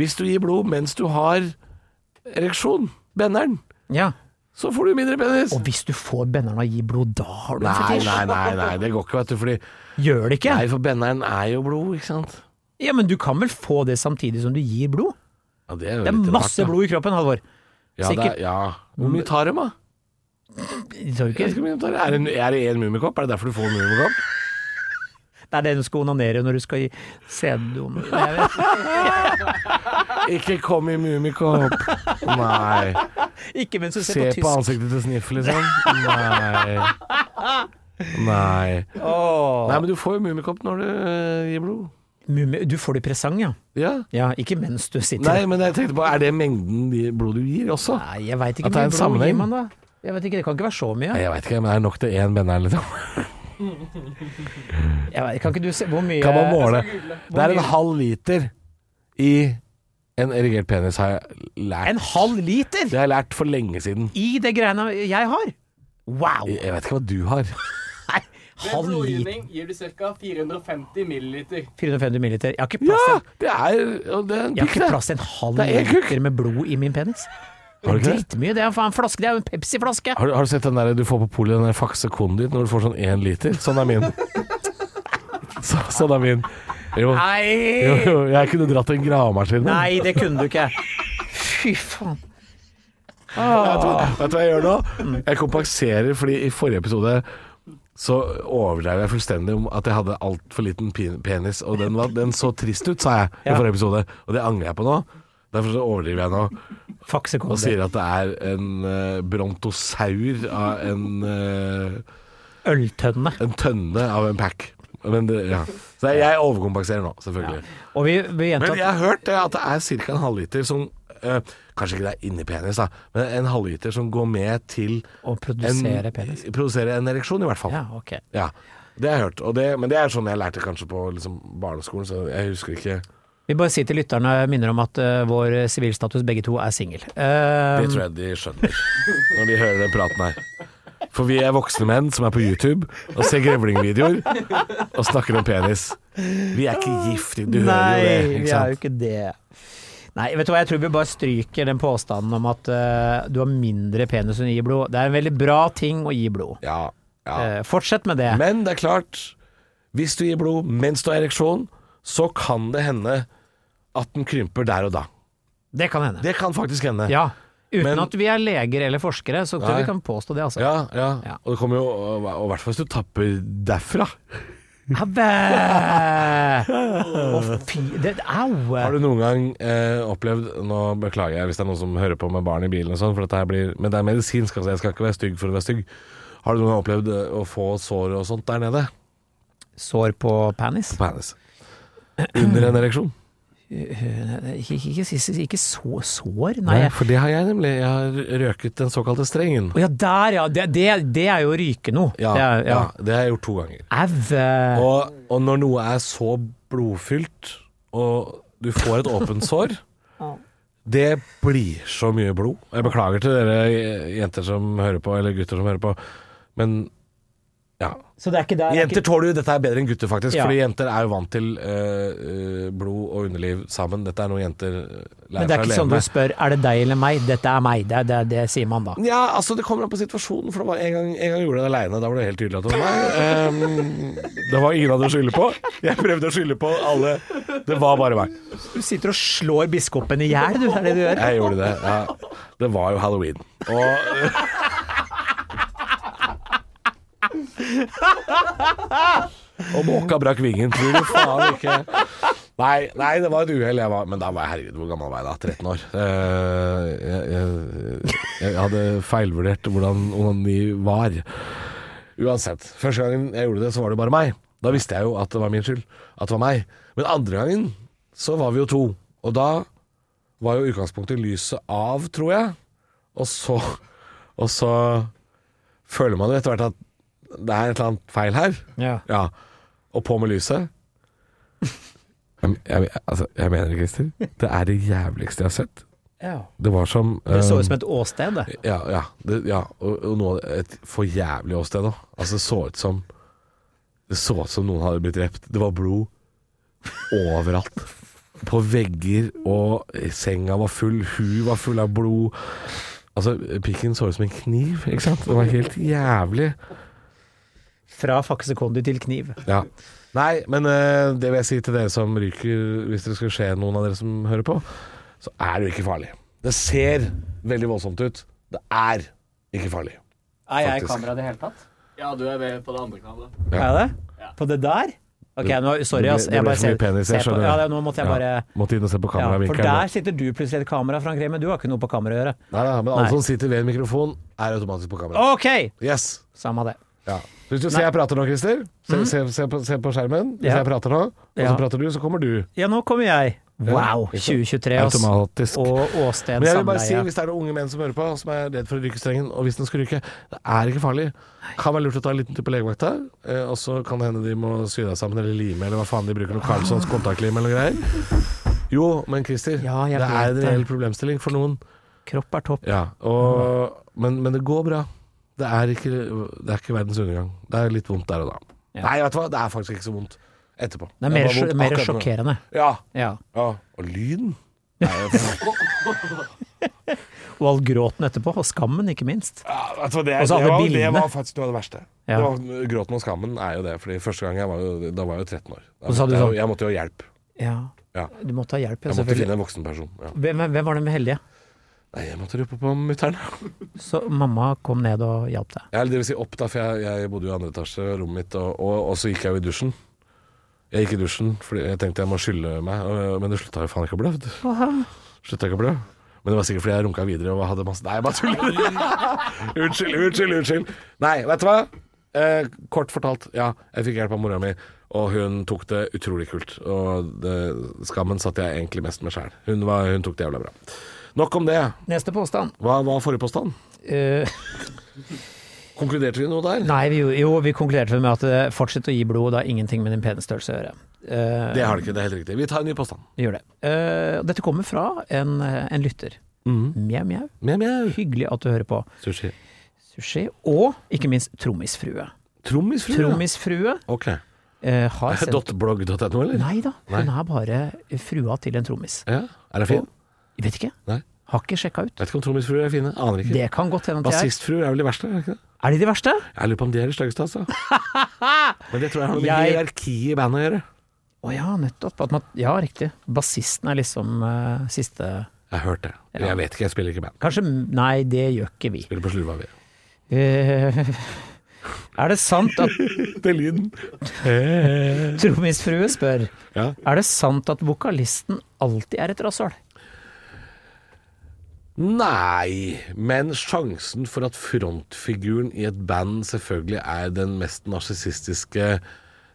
B: Hvis du gir blod mens du har ereksjon, benneren,
C: Ja.
B: så får du mindre penis.
C: Og hvis du får benneren å gi blod, da har du en
B: Nei,
C: fetisj.
B: nei, nei, nei, det går ikke, vet du. Fordi,
C: Gjør det ikke?
B: nei, for benneren er jo blod, ikke sant?
C: Ja, men du kan vel få det samtidig som du gir blod?
B: Ja, det er, jo
C: Det er
B: litt rart,
C: masse
B: da.
C: blod i kroppen, Halvor.
B: Ja, det er,
C: sikkert.
B: ja. Hvor mye tar dem, da?
C: De tar jo
B: Jeg vet
C: ikke-
B: ikke hvor mye de tar. Er det- Er det én mumikopp? Er det derfor du får mumikopp?
C: Det er det du skal onanere når du skal gi sæddon.
B: Ikke kom i mumikopp. Nei.
C: Ikke mens du ser
B: Se
C: på
B: på
C: tysk.
B: ansiktet til Sniff, liksom. Nei. Nei.
C: Åh.
B: Nei, men du får jo mumikopp når du øh, gir blod.
C: Mumie- Du får det i presang, ja.
B: Ja.
C: ja. Ikke mens du sitter
B: Nei, men jeg tenkte på, er det mengden de blod du gir også?
C: Nei, jeg veit ikke.
B: At det er en
C: hvor mye blod
B: sammenheng.
C: gir man da? Jeg vet ikke, Det kan ikke være så mye.
B: Nei, jeg veit ikke, men er det nok til én benner, liksom?
C: Jeg vet, kan ikke du se hvor mye
B: Kan man måle? Det er en halv liter i en erigert penis, har jeg lært.
C: En halv liter
B: Det har jeg lært for lenge siden.
C: i det greiene jeg har! Wow!
B: Jeg jeg vet ikke hva du har.
C: Nei,
A: Ved
C: halv liter.
A: blodgivning gir du ca. 450 milliliter.
C: 450 milliliter. Jeg har ikke
B: Ja!
C: plass til en-
B: Det er, og det er en
C: jeg har
B: pikk,
C: ikke
B: det.
C: plass til en halv
B: Det er en kuk.
C: liter med blod i min penis.
B: Har du ikke det?
C: Drittmye. Det er jo faen flaske. Det er jo en Pepsi-flaske.
B: Har du, har du sett den der du får på polet, den der fakse konen din, når du får sånn én liter? Sånn er min. Sånn er min. Jo, jo,
C: Nei!
B: jo jeg kunne dratt en gravemaskin.
C: Nei, det kunne du ikke. Fy faen.
B: Vet du, hva- vet du hva jeg gjør nå? Jeg kompenserer, fordi i forrige episode så overdrev jeg fullstendig om at jeg hadde altfor liten pen- penis, og den, var, den så trist ut, sa jeg i
C: Ja.
B: forrige episode, og det angrer jeg på nå. Derfor så overdriver jeg nå og
C: Faksekonde.
B: sier at det er en eh, brontosaur av en, eh,
C: Øltønne.
B: en tønne av en pack. Men det, ja. Så jeg, jeg overkompenserer nå, selvfølgelig.
C: Og vi, vi
B: Men
C: gjentar
B: jeg har hørt det at det er ca. en halvliter som eh, Kanskje ikke det er inni penis, da, men en halvliter som går med til
C: å produsere penis.
B: Produsere en ereksjon, i hvert fall. Ja.
C: Ja, ok.
B: Det har jeg hørt, og det, men det er sånn jeg lærte kanskje på liksom, barneskolen, så jeg husker ikke
C: Vi bare sier til lytterne minner om at eh, vår sivilstatus begge to er singel.
B: Det
C: Uh,
B: tror jeg de skjønner når de hører den praten her. For vi er voksne menn som er på YouTube og ser grevlingvideoer og snakker om penis. Vi er ikke gift, du hører jo det.
C: Eh, Nei,
B: Ikke
C: vi er jo
B: sant?
C: ikke det. Nei, vet du hva, jeg tror vi bare stryker den påstanden om at eh, du har mindre penis enn å gi blod. Det er en veldig bra ting å gi blod.
B: Ja, ja.
C: Eh, fortsett med det.
B: Men det er klart, hvis du gir blod mens du har ereksjon, så kan det hende at den krymper der og da.
C: det kan hende.
B: Det kan faktisk hende.
C: ja. Uten
B: Men-
C: at vi er leger eller forskere, så tror
B: Nei.
C: vi kan påstå det, altså.
B: Ja, ja.
C: Ja.
B: Og det kommer jo Og i hvert fall hvis du tapper derfra.
C: Habbe! Å, fy det, Au!
B: Har du noen gang eh, opplevd Nå beklager jeg hvis det er noen som hører på med barn i bilen og sånn, for dette her blir Men det er medisinsk, altså. Jeg skal ikke være stygg for å være stygg. Har du noen gang opplevd eh, å få sår og sånt der nede?
C: Sår på penis?
B: På penis. Under en ereksjon.
C: Ikke, ikke, ikke, ikke så, sår? Nei. jeg-
B: for det har jeg nemlig. Jeg har røket den såkalte strengen.
C: Å ja, der ja. Det, det, det er jo å ryke noe.
B: Ja,
C: Det er,
B: ja. det har jeg gjort to ganger.
C: Au! eh.
B: Og, og når noe er så blodfylt, og du får et åpent sår Det blir så mye blod. Jeg beklager til dere jenter som hører på, eller gutter som hører på, men ja.
C: Så det er ikke der
B: Jenter tåler jo dette er bedre enn gutter, faktisk.
C: Ja.
B: Fordi jenter er jo vant til eh, eh, blod og underliv sammen. Dette er noe jenter eh,
C: Men
B: lærer seg å
C: det er ikke
B: leve
C: sånn du
B: med.
C: spør er det deg eller meg, dette er meg, det, er- det, er- det sier man da.
B: Ja, altså det kommer an på situasjonen. For det var en gang, en gang jeg gjorde det aleine. Da var det helt tydelig at det var meg. Ehm, det var ingen andre å skylde på. Jeg prøvde å skylde på alle. Det var bare meg.
C: Du sitter og slår biskopen i hjel, du, det er det du gjør.
B: Jeg gjorde det. Ja. Det var jo halloween. Og Og måka brakk vingen, tror du faen ikke. Nei, nei det var et uhell. jeg var- Men da var jeg herregud, hvor gammel var jeg da? 13 år. Eh, jeg, jeg, jeg hadde feilvurdert hvordan onani var. Uansett. Første gangen jeg gjorde det, så var det bare meg. Da visste jeg jo at det var min skyld. At det var meg. Men andre gangen så var vi jo to. Og da var jo utgangspunktet lyset av, tror jeg. Og så, og så føler man jo etter hvert at det er et eller annet feil her.
C: Ja.
B: Ja. Og på med lyset. Jeg, jeg, altså, jeg mener det, Christer. Det er det jævligste jeg har sett. Det var som
C: Det så ut
B: eh,
C: som et åsted. det.
B: Ja, ja, det, ja og, og noe, av det- et for jævlig åsted òg. Altså, det så ut som Det så ut som noen hadde blitt drept. Det var blod overalt. På vegger, og senga var full, hun var full av blod. Altså, pikken så ut som en kniv, ikke sant? Det var helt jævlig.
C: Fra faksekondi til kniv.
B: Ja. Nei, men eh, det vil jeg si til dere som ryker, hvis det skulle skje noen av dere som hører på, så er det jo ikke farlig. Det ser veldig voldsomt ut. Det er ikke farlig.
C: Er
B: jeg i Faktisk. kamera
C: i det hele tatt?
A: Ja, du er ved på det andre kameraet.
C: Er jeg det? På det der? Ok, nå, sorry,
B: Det ble-
C: ass.
B: det ble for mye penis, jeg
C: ser på-
B: skjønner
C: Ja,
B: det.
C: det, nå måtte jeg
B: Ja.
C: bare
B: Måtte inn og se på
C: ja, For
B: kameravinkelen.
C: der sitter du plutselig i et kamera, Frank Remi. Du har ikke noe på kamera å gjøre.
B: Nei, nei, men alle
C: Nei.
B: som sitter ved en mikrofon, er automatisk på kamera.
C: Ok!
B: Yes.
C: Samme det.
B: Ja. Hvis du ser jeg prater nå, Christer, se, se, se, på, se på skjermen. Hvis
C: Mhm. Ja.
B: jeg prater nå, og så
C: Ja.
B: prater du, så kommer du.
C: Ja, nå kommer jeg. Wow,
B: ikke sant?
C: 2023, ass.
B: Automatisk.
C: Og
B: Men
C: åsted
B: jeg vil bare si,
C: samleie.
B: hvis det er noen unge menn som hører på, som er redd for å ryke strengen, og hvis den skulle ryke, det er ikke farlig. Kan være lurt å ta en liten tur på legevakta, eh, og så kan det hende de må sy deg sammen eller lime, eller hva faen de bruker, noe Carlsons kontaktlim eller noe greier. Jo, men Christer,
C: Ah. Ja, jeg
B: det er
C: vet
B: en
C: det.
B: reell problemstilling for noen.
C: Kropp er topp.
B: Ja, og, men, men det går bra. Det er, ikke, det er ikke verdens undergang. Det er litt vondt der og da.
C: Ja.
B: Nei, vet du hva, det er faktisk ikke så vondt etterpå.
C: Det er mer,
B: bare vondt
C: sjo- mer
B: akkurat nå.
C: sjokkerende.
B: Ja,
C: Ja.
B: ja. Og lyden.
C: Og all gråten etterpå, og skammen ikke minst.
B: Ja, vet du hva, det,
C: Og
B: det,
C: så alle
B: var, det
C: bildene.
B: var faktisk noe av det verste.
C: Ja.
B: Det var, gråten og skammen er jo det. Fordi første gang jeg var jo, da var jeg jo 13 år. Da
C: Og så hadde
B: måtte
C: du
B: jeg,
C: sånn-
B: jo- jeg måtte jo ha hjelp.
C: Ja.
B: Ja.
C: Du måtte ha
B: Jeg
C: hjelp, ja,
B: måtte
C: selvfølgelig.
B: finne en voksen person. Ja.
C: Hvem, hvem var den med heldige?
B: Nei, jeg måtte rope på mutter'n.
C: Så mamma kom ned og hjalp deg.
B: Ja, eller det vil si opp, da, for jeg, jeg bodde jo i andre etasje, rommet mitt, og, og, og så gikk jeg jo i dusjen. Jeg gikk i dusjen fordi jeg tenkte jeg må skylle meg, og- men det slutta jo faen ikke å blø. vet du. Slutta ikke å blø. Men det var sikkert fordi jeg runka videre og hadde masse Nei, jeg bare tuller! unnskyld, unnskyld, unnskyld. Nei, vet du hva? Eh, kort fortalt, ja, jeg fikk hjelp av mora mi, og hun tok det utrolig kult. Og det, skammen satt jeg egentlig mest med sjæl. Hun, var- hun tok det jævla bra. Nok om det.
C: Neste påstand.
B: Hva var forrige påstand?
C: Eh,
B: Konkluderte vi noe der?
C: nei, vi, gjorde- jo, vi konkluderte med at eh, fortsett å gi blod, det har ingenting med din penisstørrelse å gjøre. Eh,
B: Det har det ikke, det er helt riktig. Vi tar en ny påstand.
C: vi gjør det. Eh, dette kommer fra en, eh, en lytter. Mjau, mjau.
B: Mjau, mjau.
C: Hyggelig at du hører på.
B: Sushi.
C: Sushi. Og ikke minst trommisfrue.
B: Trommisfrue?
C: Trommisfrue
B: Ok.
C: eh, har
B: Er det
C: sendt
B: dot .blogg.no, eller?
C: Nei da, hun
B: Nei.
C: er bare frua til en trommis.
B: Ja. Er det fin?
C: Jeg vet ikke.
B: Nei.
C: Har ikke sjekka ut.
B: Vet ikke om trommisfruer er fine. Aner ikke.
C: Det kan godt hende at de er.
B: Bassistfruer er vel de verste? Er det ikke det?
C: Er de de verste?
B: Jeg lurer på om de er de styggeste, altså. Men det tror jeg har noe med
C: Jeg-
B: hierarkiet i bandet å gjøre.
C: Å ja, nettopp. At man, ja, riktig. Bassisten er liksom eh, siste
B: Jeg har hørt det. Men
C: Ja.
B: Jeg vet ikke, jeg spiller ikke i band.
C: Kanskje Nei, det gjør ikke vi.
B: Spiller på slurva, vi.
C: Eh, er det sant at
B: Det er lyden.
C: Trommisfrue spør
B: Ja.
C: Er det sant at vokalisten alltid er et rasshøl?
B: Nei, men sjansen for at frontfiguren i et band selvfølgelig er den mest narsissistiske,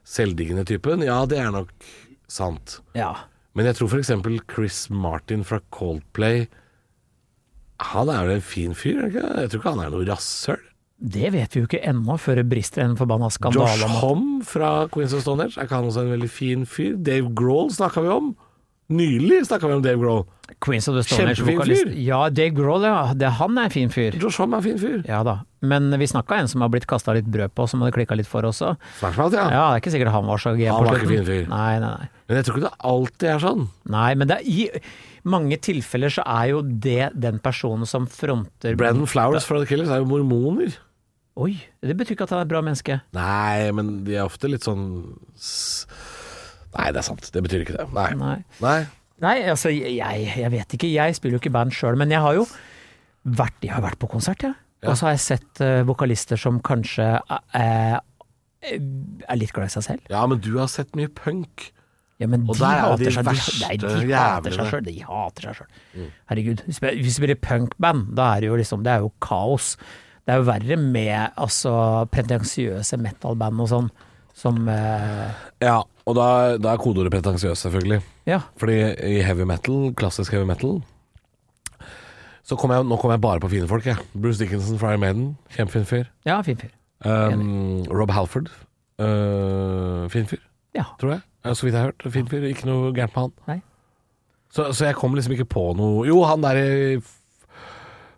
B: selvdiggende typen, ja, det er nok sant.
C: Ja.
B: Men jeg tror f.eks. Chris Martin fra Coldplay Han er vel en fin fyr? er han Ikke? Jeg tror ikke han er noe rasshøl.
C: Det vet vi jo ikke ennå, før det brister en forbanna
B: Josh
C: skandale. om at-
B: Homme fra Queens of Stone Age, er ikke han også en veldig fin fyr? Dave Grohl snakka vi om. Nylig snakka vi om Dave Grohl.
C: Queens of the Stone Age
B: Kjempefin
C: vokalist.
B: fyr.
C: Ja, Dave Grohl, ja. Det, han er en fin fyr.
B: Josh Homme er en fin fyr.
C: Ja da. Men vi snakka en som har blitt kasta litt brød på, som hadde klikka litt for også.
B: Snakk med alt, ja.
C: Ja, det er ikke sikkert han var så gen
B: Ah. Han
C: på
B: var ikke
C: slutten.
B: fin fyr.
C: Nei, nei, nei.
B: Men jeg tror ikke det alltid er sånn.
C: nei men det er, i mange tilfeller så er jo det den personen som fronter
B: Brandon Flowers fra The Killers er jo mormoner.
C: Oi, det betyr ikke at han er et bra menneske.
B: Nei, men de er ofte litt sånn s- Nei, det er sant. Det betyr ikke det. Nei.
C: Nei.
B: Nei.
C: Nei, altså jeg, jeg vet ikke. Jeg spiller jo ikke i band sjøl, men jeg har jo vært, jeg har vært på konsert, jeg.
B: Ja.
C: Og så har jeg sett eh, vokalister som kanskje er, er litt glad i seg selv.
B: Ja, men du har sett mye punk.
C: Ja, men
B: Og
C: de
B: der er jo
C: hater
B: de
C: seg
B: verste
C: Nei, de hater seg
B: jævlene.
C: sjøl. De hater seg sjøl. Herregud. Hvis vi- Hvis vi spiller punkband, da er det jo liksom Det er jo kaos. Det er jo verre med altså pretensiøse metalband og sånn, som eh,
B: Ja, og da, da er kodeordet pretensiøst, selvfølgelig.
C: Ja.
B: Fordi i heavy metal, klassisk heavy metal så kom jeg, Nå kom jeg bare på fine folk, jeg. Bruce Dickinson fra Iron Maiden, kjempefin fyr.
C: Ja, fin fyr.
B: Um, Rob Halford, øh, fin fyr,
C: Ja.
B: tror jeg. Ja, Så vidt jeg har hørt. Fin fyr. Ikke noe gærent med han.
C: Nei.
B: Så, så jeg kom liksom ikke på noe Jo, han der i F-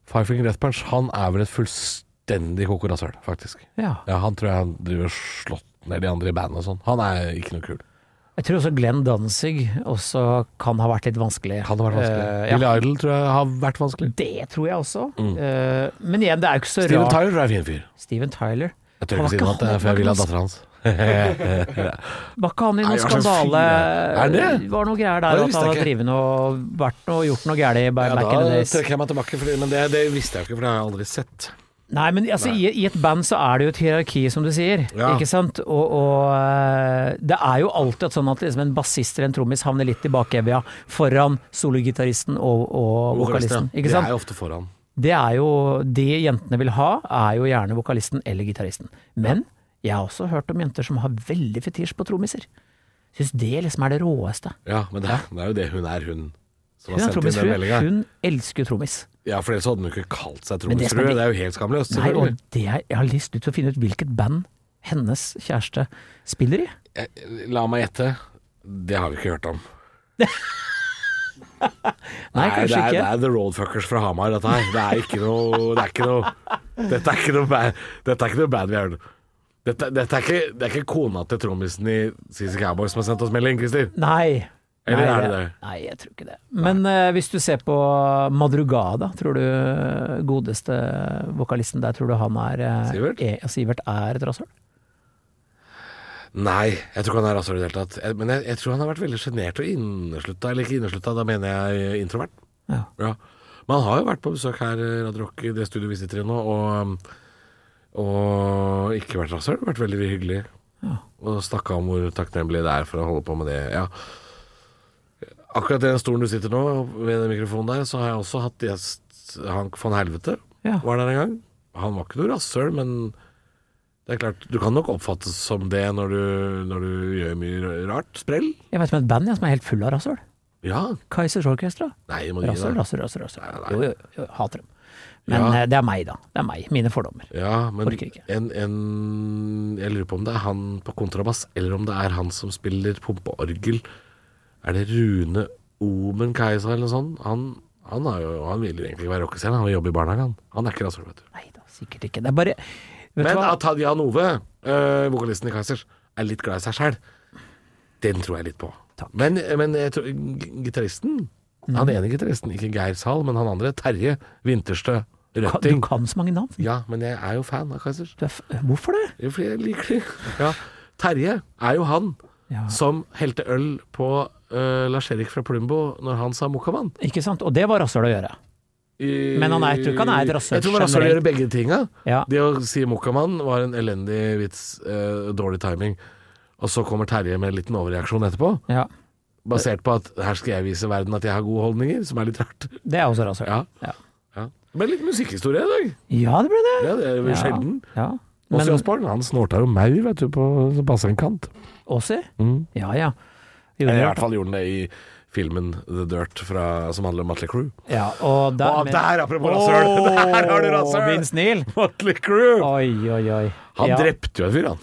B: Five Finger Death Punch, han er vel et fullstendig koko rasshøl, faktisk.
C: ja.
B: Ja, han tror jeg han driver og slått ned de andre i bandet og sånn. Han er ikke noe kul.
C: Jeg tror også Glenn Danzig også kan ha vært litt vanskelig.
B: Kan det ha vært vanskelig?
C: Eh,
B: Billy
C: ja.
B: Idol tror jeg har vært vanskelig.
C: Det tror jeg også. Eh, men igjen, det er jo ikke så
B: Mm. Steven
C: rart.
B: Tyler er en fin fyr.
C: Steven Tyler.
B: Jeg tør ikke
C: Han var
B: si
C: ikke
B: noe annet,
C: han-
B: for jeg vil ha
C: han-
B: dattera hans.
C: Var ikke han i
B: Nei,
C: noen
B: hva slags fyr
C: skandale
B: er det? Er det?
C: var noe
B: Ja,
C: greier der
B: det
C: at
B: visste jeg
C: han hadde
B: ikke.
C: drevet noe vært noe, gjort noe gærent back
B: Ja, da
C: in the days.
B: trekker jeg meg tilbake, fordi, men det, det visste jeg jo ikke, for det har jeg aldri sett.
C: Nei, men altså, I, i et band så er det jo et hierarki, som du sier.
B: Ja.
C: Ikke sant? Og, og eh, det er jo alltid sånn at liksom, en bassist eller en trommis havner litt i bakevja foran sologitaristen og, og vokalisten. Ikke sant?
B: Det er jo ofte foran.
C: det er jo Det jentene vil ha, er jo gjerne vokalisten eller gitaristen. Men jeg har også hørt om jenter som har veldig fetisj på trommiser. Syns det liksom er det råeste.
B: Ja, men det, det er jo det hun er, hun som har sendt inn
C: Hun er
B: den
C: trommisfrue.
B: meldinga.
C: Hun elsker jo trommis.
B: Ja, for ellers hadde hun jo ikke kalt seg
C: Men det som
B: trommisfrue.
C: er-
B: Det er jo helt skamløst.
C: Nei,
B: selvfølgelig.
C: og det er, jeg har lyst til å finne ut hvilket band hennes kjæreste spiller i.
B: Jeg- La meg gjette. Det har vi ikke hørt om.
C: Nei,
B: det,
C: kanskje
B: er, det
C: ikke.
B: er The Roadfuckers fra Hamar, dette her. Det er ikke noe, det er ikke noe Dette er ikke noe bad, dette er ikke noe bad vi har hørt. Dette, dette er ikke, det er ikke kona til trommisen i CC Cowboy som har sendt oss melding, Christer.
C: Nei.
B: Eller
C: Nei,
B: er det
C: jeg-
B: det?
C: Nei, jeg tror ikke det. Men eh, hvis du ser på Madrugada, tror du eh, godeste vokalisten der, tror du han er eh,
B: Sivert?
C: E, ja, Sivert er et rasshøl?
B: Nei, jeg tror ikke han er rasshøl i det hele tatt. Jeg- Men jeg, jeg tror han har vært veldig sjenert og inneslutta. Eller ikke inneslutta, da mener jeg introvert.
C: Ja.
B: Ja. Men han har jo vært på besøk her, eh, Radio Rock, i det studioet vi sitter i nå, og, um, og ikke vært rasshøl. Vært veldig hyggelig. Og snakka om hvor takknemlig det er for å holde på med det. Ja. Akkurat den stolen du sitter nå, ved den mikrofonen der, så har jeg også hatt gjest Hank von Helvete.
C: Ja.
B: Var der en gang. Han var ikke noe rasshøl, men det er klart, du kan nok oppfattes som det når du, når du gjør mye rart. Sprell.
C: Jeg vet om et band ja, som er helt full av rasshøl.
B: Ja.
C: Kaizers Orchestra.
B: Nei, må du gi
C: Rasshøl,
B: deg.
C: rasshøl, rasshøl. rasshøl.
B: Nei, nei.
C: Jo, jo, jo, jeg hater dem. Men
B: Ja.
C: eh, det er meg, da. Det er meg. Mine fordommer.
B: Ja, men
C: Orker ikke.
B: en, en Jeg lurer på om det er han på kontrabass, eller om det er han som spiller pumpeorgel. Er det Rune Omen Keiser eller noe sånt? Han, han, er jo, han vil jo egentlig ikke være rockestjerne, han vil jobbe i barnehagen. Han, han er ikke rasshøl, vet du.
C: Nei da, sikkert ikke. Det er bare Vet du
B: Men
C: hva?
B: at han Jan Ove, øh, vokalisten i Keisers, er litt glad i seg sjæl, den tror jeg litt på.
C: Takk. Mm.
B: Men, men jeg tror- g- gitaristen Han ene gitaristen, ikke Geir Sahl, men han andre, Terje Winterstø
C: Ka- Du
B: Røtting.
C: kan så mange navn.
B: Ja, men jeg er jo fan av Keisers.
C: Du er f Hvorfor det?
B: Jo, fordi jeg liker det. Ja. Terje er jo han
C: Ja.
B: som helte øl på øh, Lars Erik fra Plumbo når han sa Mokkamann.
C: Ikke sant? Og det var rasshøl å gjøre. Men han er- jeg tror ikke han er et rasshøl
B: Jeg tror han er rasshøl å
C: generelt.
B: gjøre begge tinga.
C: Ja.
B: Det å si Mokkamann var en elendig vits, øh, dårlig timing. Og så kommer Terje med en liten overreaksjon etterpå,
C: ja.
B: basert på at her skal jeg vise verden at jeg har gode holdninger, som er litt rart.
C: Det er også rasshøl.
B: Ja.
C: Ja.
B: Ja. Men litt musikkhistorie i dag.
C: ja, det ble det.
B: Ja, det er jo
C: Ja.
B: sjelden.
C: Ja.
B: Åse
C: Men-
B: Osborn, han snorta jo maur, vet du, på bassengkant.
C: Åsi?
B: Mm.
C: Ja ja. Gjorde
B: Eller i
C: det.
B: hvert fall gjorde den det i filmen The Dirt fra, som handler om Motley Crew.
C: Ja, og der,
B: Å, der, apropos rasshøl! Der har du rasshøl!
C: Vince Neil.
B: Motley Crew!
C: Oi, oi, oi.
B: Han
C: ja.
B: drepte jo en fyr, han.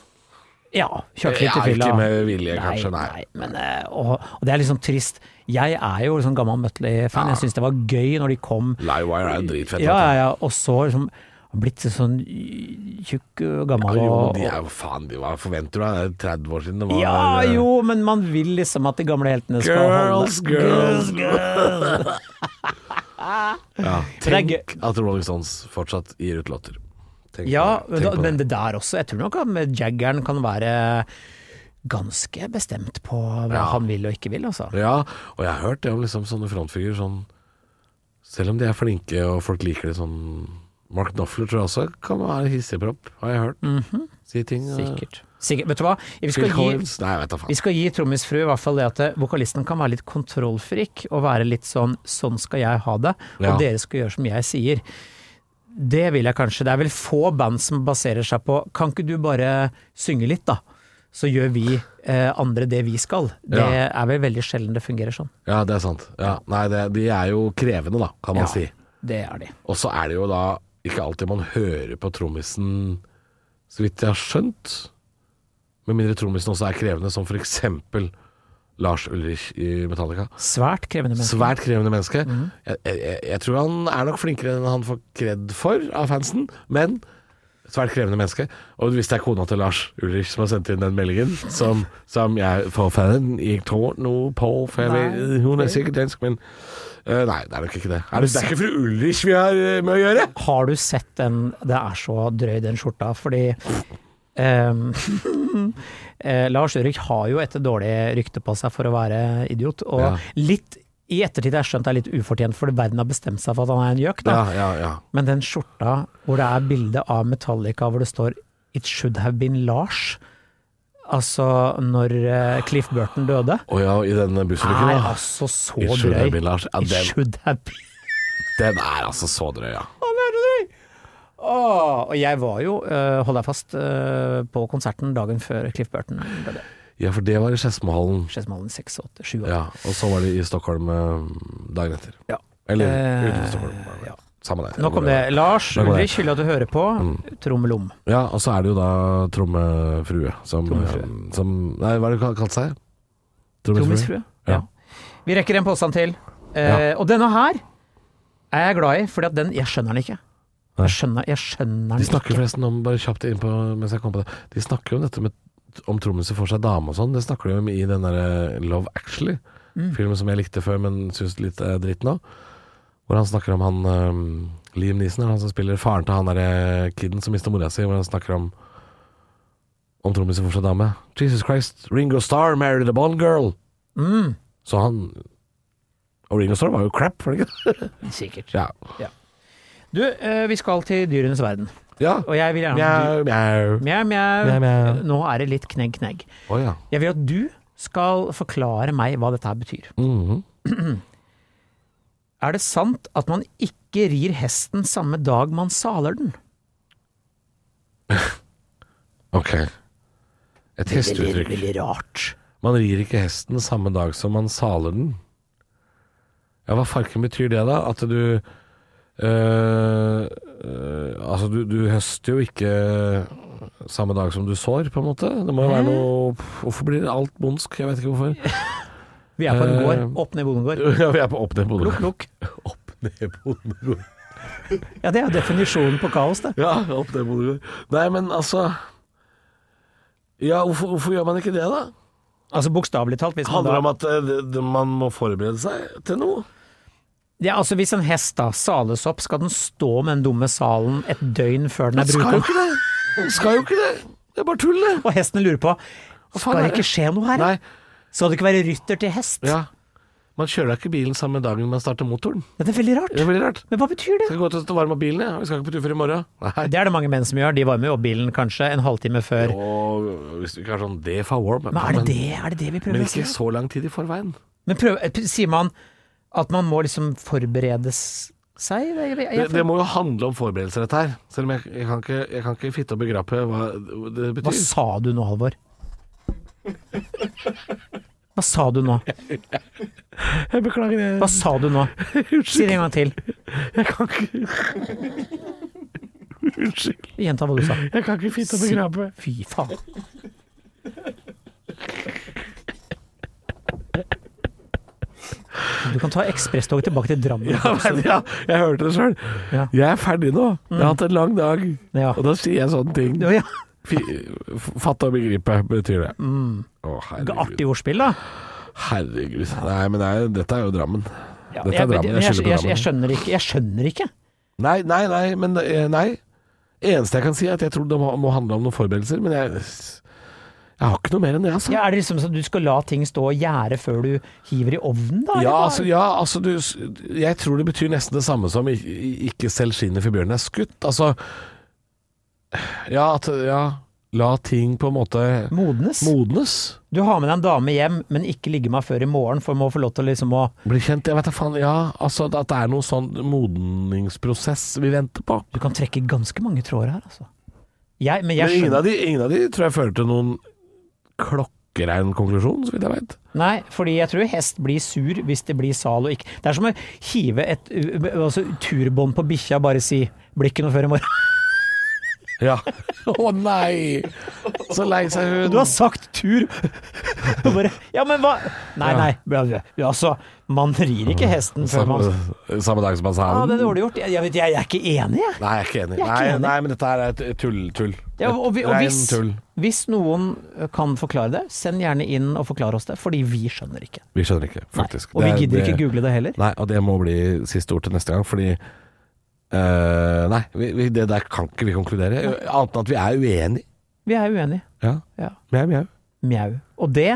C: Ja, kjørte litt
B: Ja,
C: i fylla.
B: ikke med vilje, kanskje, nei.
C: men, eh, og, og det er liksom trist. Jeg er jo liksom gammel Mutley-fan. Jeg syns det var gøy når de kom.
B: Livewire er jo dritfett.
C: Ja,
B: vet
C: ja, ja. Og så liksom blitt sånn tjukk og
B: du.
C: gammel
B: Ja, jo,
C: og
B: de er jo faen de, Hva forventer du? Det er 30 år siden det var
C: Ja
B: eh,
C: jo, men man vil liksom at de gamle heltene skal
B: Girls,
C: holde
B: girls,
C: girls.
B: eh, ja.
C: det er
B: Tenk at Rolling Stones fortsatt gir ut låter. Tenk
C: Ja,
B: på det.
C: men,
B: Tenk
C: da,
B: på
C: men det der også. Jeg tror nok at med Jaggeren kan være ganske bestemt på hva
B: Ja.
C: han vil og ikke vil, altså.
B: Ja, og jeg har hørt det om liksom sånne frontfigurer sånn Selv om de er flinke og folk liker det sånn Mark Knopfler tror jeg også kan være hissigpropp, har jeg hørt. Si ting eh,
C: Mhm. Sikkert. Sikkert. Vet du hva, vi
B: Phil
C: skal gi,
B: Collins Nei, jeg vet da faen.
C: vi skal gi Trommisfru i hvert fall det at eh, vokalisten kan være litt kontrollfrik og være litt sånn 'sånn skal jeg ha det', og
B: Ja.
C: dere skal gjøre som jeg sier. Det vil jeg kanskje. Det er vel få band som baserer seg på 'kan ikke du bare synge litt', da? Så gjør vi eh, andre det vi skal. Det
B: Ja.
C: er vel veldig sjelden det fungerer sånn.
B: Ja, det er sant. Ja, nei, det, de er jo krevende, da, kan man
C: Ja,
B: si.
C: Det er de.
B: Og så er det jo da ikke alltid man hører på trommisen, så vidt jeg har skjønt. Med mindre trommisen også er krevende, som for eksempel Lars Ulrich i Metallica.
C: Svært krevende mennesker.
B: Svært krevende menneske. Mhm. Jeg, jeg, jeg tror han er nok flinkere enn han får kred for av fansen, men svært krevende menneske. Og hvis det er kona til Lars Ulrich som har sendt inn den meldingen, som, som jeg får fanen Jeg tror noe på for jeg,
C: Nei.
B: vet- Hun er sikkert dansk, men eh, Nei, det er nok ikke det. Er det, det er ikke fru Ulrich vi har eh, med å gjøre!
C: Har du sett den Det er så drøy, den skjorta, fordi ehm, eh, Lars Ulrik har jo et dårlig rykte på seg for å være idiot, og
B: Ja.
C: litt i ettertid har jeg skjønt det er litt ufortjent, fordi verden har bestemt seg for at han er en gjøk, da.
B: Ja, ja, ja.
C: Men den skjorta hvor det er bilde av Metallica hvor det står 'It should have been Lars', altså når eh, Cliff Burton døde,
B: Å ja, i den bussulykken,
C: er
B: da.
C: altså så
B: It should have
C: drøy.
B: been Lars. Ja,
C: It
B: den,
C: should have been
B: den er altså så drøy, ja.
C: Åh, og jeg var jo, eh, hold deg fast, eh, på konserten dagen før Cliff Burton døde.
B: Ja, for det var i Skedsmohallen.
C: Skedsmalen 86-7 år.
B: Ja, og så var det i Stockholm eh, dagen etter.
C: Ja.
B: Eller
C: Eh,
B: utenfor Stockholm. bare.
C: ja.
B: Samme det.
C: Nok om det. Lars
B: Nok om det. Mm.
C: Ulrich, hyggelig at du hører på. Trommelom.
B: Ja, og så er det jo da trommefrue som, eh,
C: Trommefrue.
B: som Nei, hva er det kalt seg?
C: Trommisfrue.
B: Ja.
C: Ja. Vi rekker en påstand til. Eh, Og denne her er jeg glad i, fordi at den Jeg skjønner den ikke.
B: Nei.
C: Jeg skjønner, jeg skjønner
B: De
C: den
B: snakker
C: ikke.
B: forresten om Bare kjapt inn på mens jeg kom på det. De snakker jo om dette med om trommiser får seg dame og sånn. Det snakker de om i den derre eh, Love Actually. Filmen som jeg likte før, men syns litt er dritt nå. Hvor han snakker om han ehm, Liam Neeson, er det han som spiller faren til han derre kiden som mista mora si, hvor han snakker om om trommisen for seg dame. Jesus Christ, Ringo Starr married a Bond girl!
C: Mm,
B: Så han Og Ringo Starr var jo crap, var det ikke?
C: sikkert.
B: Ja.
C: Du, eh, vi skal til dyrenes verden.
B: ja.
C: Og jeg vil gjerne
B: Mjau, mjau.
C: Mjau,
B: Mjau,
C: mjau.
B: mjau.
C: Nå er det litt knegg, knegg.
B: Å ja.
C: Jeg vil at du skal forklare meg hva dette her betyr.
B: Mhm.
C: Er det sant at man ikke rir hesten samme dag man saler den?
B: Ok. Et hesteuttrykk.
C: Veldig rart.
B: Man rir ikke hesten samme dag som man saler den. Ja, hva farken betyr det da? At du øh, øh, Altså, du, du høster jo ikke samme dag som du sår, på en måte. Det må jo være noe Hvorfor blir alt bondsk? Jeg vet ikke hvorfor.
C: Vi er på en
B: Eh,
C: gård. Opp ned bondegård.
B: Ja, vi er på opp ned
C: Lukk,
B: bondegård.
C: lukk.
B: Opp ned bondegård.
C: Ja, det er definisjonen på kaos, det.
B: Ja, opp ned bondegård. Nei, men altså Ja, hvorfor, hvorfor gjør man ikke det, da?
C: Altså bokstavelig talt. Hvis man
B: Handler det
C: da
B: om at eh, det- det- man må forberede seg til noe?
C: Ja, altså hvis en hest da sales opp, skal den stå med den dumme salen et døgn før den er
B: Skal jo
C: brukt?
B: ikke det! Skal jo ikke det! Det er bare tull, det!
C: Og hestene lurer på
B: Hva
C: Skal det ikke skje noe her?
B: Nei,
C: Skal det ikke være rytter til hest?
B: ja. Man kjører da ikke bilen samme dagen man starter motoren.
C: Det er veldig rart.
B: Det er veldig rart.
C: Men hva betyr det?
B: Skal gå til å varme opp bilen, jeg. Vi skal ikke på tur før i morgen. Nei.
C: Det er det mange menn som gjør. De varmer jo opp bilen kanskje en halvtime før.
B: Og hvis du ikke er sånn det altså? er for warm
C: Men er det det, er det, det vi
B: Men
C: prøver å si?
B: ikke så lang tid i forveien.
C: Men prøv, eh, sier man at man må liksom forberede s- seg? Jeg, jeg,
B: Det,
C: jeg,
B: det må jo handle om forberedelser, dette her. Selv om jeg, jeg, kan, ikke, jeg kan ikke fitte og begrape hva det
C: hva
B: betyr.
C: sa du nå, Halvor? Hva sa du nå?
B: Jeg beklager det.
C: Hva sa du nå? Si det en gang til.
B: Jeg kan ikke Unnskyld.
C: Gjenta hva du sa.
B: Jeg kan ikke fitte og begrape.
C: Fy faen. Du kan ta ekspresstog tilbake til Drammen.
B: Ja, men, ja, jeg hørte det sjøl.
C: Ja.
B: Jeg er ferdig nå. Jeg har hatt en lang dag.
C: Ja.
B: Og da sier jeg sånne ting.
C: Ja, ja.
B: Fi- Fatte og begripe betyr det. Å, herregud.
C: Mm. Artig ordspill, da.
B: herregud. Nei, men det er, dette er jo Drammen.
C: Ja,
B: Dette er
C: jeg-
B: Drammen. Jeg
C: jeg-
B: skylder på
C: jeg-
B: Drammen.
C: Jeg skjønner ikke. Jeg skjønner ikke.
B: Nei, nei, nei, men det- eh, nei. Eneste jeg kan si, er at jeg tror det må, må handle om noen forberedelser, men jeg, jeg har ikke noe mer enn det, altså.
C: Ja, er det liksom sånn at du skal la ting stå og gjære før du hiver i ovnen, da? eller
B: Ja,
C: hva?
B: altså, ja, altså du, jeg tror det betyr nesten det samme som i- i- ikke selv skinnet for bjørnen er skutt. Altså ja, at, ja, la ting på en måte
C: Modnes?
B: modnes.
C: Du har med deg en dame hjem, men ikke ligge med henne før i morgen, for må få lov til å liksom å
B: Bli kjent, jeg vet da faen. Ja, altså at det er noen sånn modningsprosess vi venter på.
C: Du kan trekke ganske mange tråder her, altså. Jeg, men jeg
B: Men ingen
C: skjønner
B: av de, ingen av de tror jeg fører til noen klokkerein konklusjon, så vidt jeg veit.
C: Nei, fordi jeg tror hest blir sur hvis det blir sal og ikke Det er som å hive et ø, ø, altså, turbånd på bikkja og bare si 'blir ikke noe før i morgen'.
B: Ja. Å nei! Så lei seg hun.
C: Du har sagt tur! Og bare Ja, men hva Nei, nei. bra, bra. Altså, man rir ikke hesten før man
B: samme, samme dag som han sa
C: Ja, det er dårlig gjort. Jeg, jeg, vet, jeg, jeg er ikke enig, jeg.
B: Nei, jeg er ikke enig.
C: Jeg er ikke
B: nei,
C: enig.
B: nei, men dette her er et tull. tull.
C: Ja, og vi, og
B: Rein
C: hvis,
B: tull.
C: hvis noen ø, kan forklare det, send gjerne inn og forklar oss det, fordi vi skjønner ikke.
B: Vi skjønner ikke, faktisk.
C: Og vi
B: Det er-
C: gidder ikke
B: det-
C: google det heller.
B: Nei, og det må bli siste ord til neste gang, fordi eh, Nei, vi, vi, det der kan ikke vi konkludere. Annet enn at vi er uenige.
C: Vi er uenige.
B: Ja.
C: Ja.
B: Mjau, mjau.
C: Mjau. Og det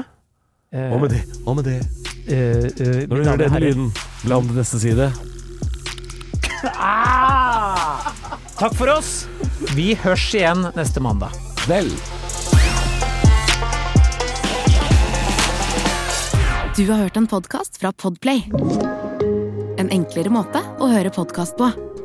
C: eh,
B: Og med det, og med det Når du hører denne lyden, bla om til neste side.
C: Ah! Takk for oss. Vi hørs igjen neste mandag.
B: Knell!
D: Du har hørt en podcast fra Podplay En enklere måte å høre podcast på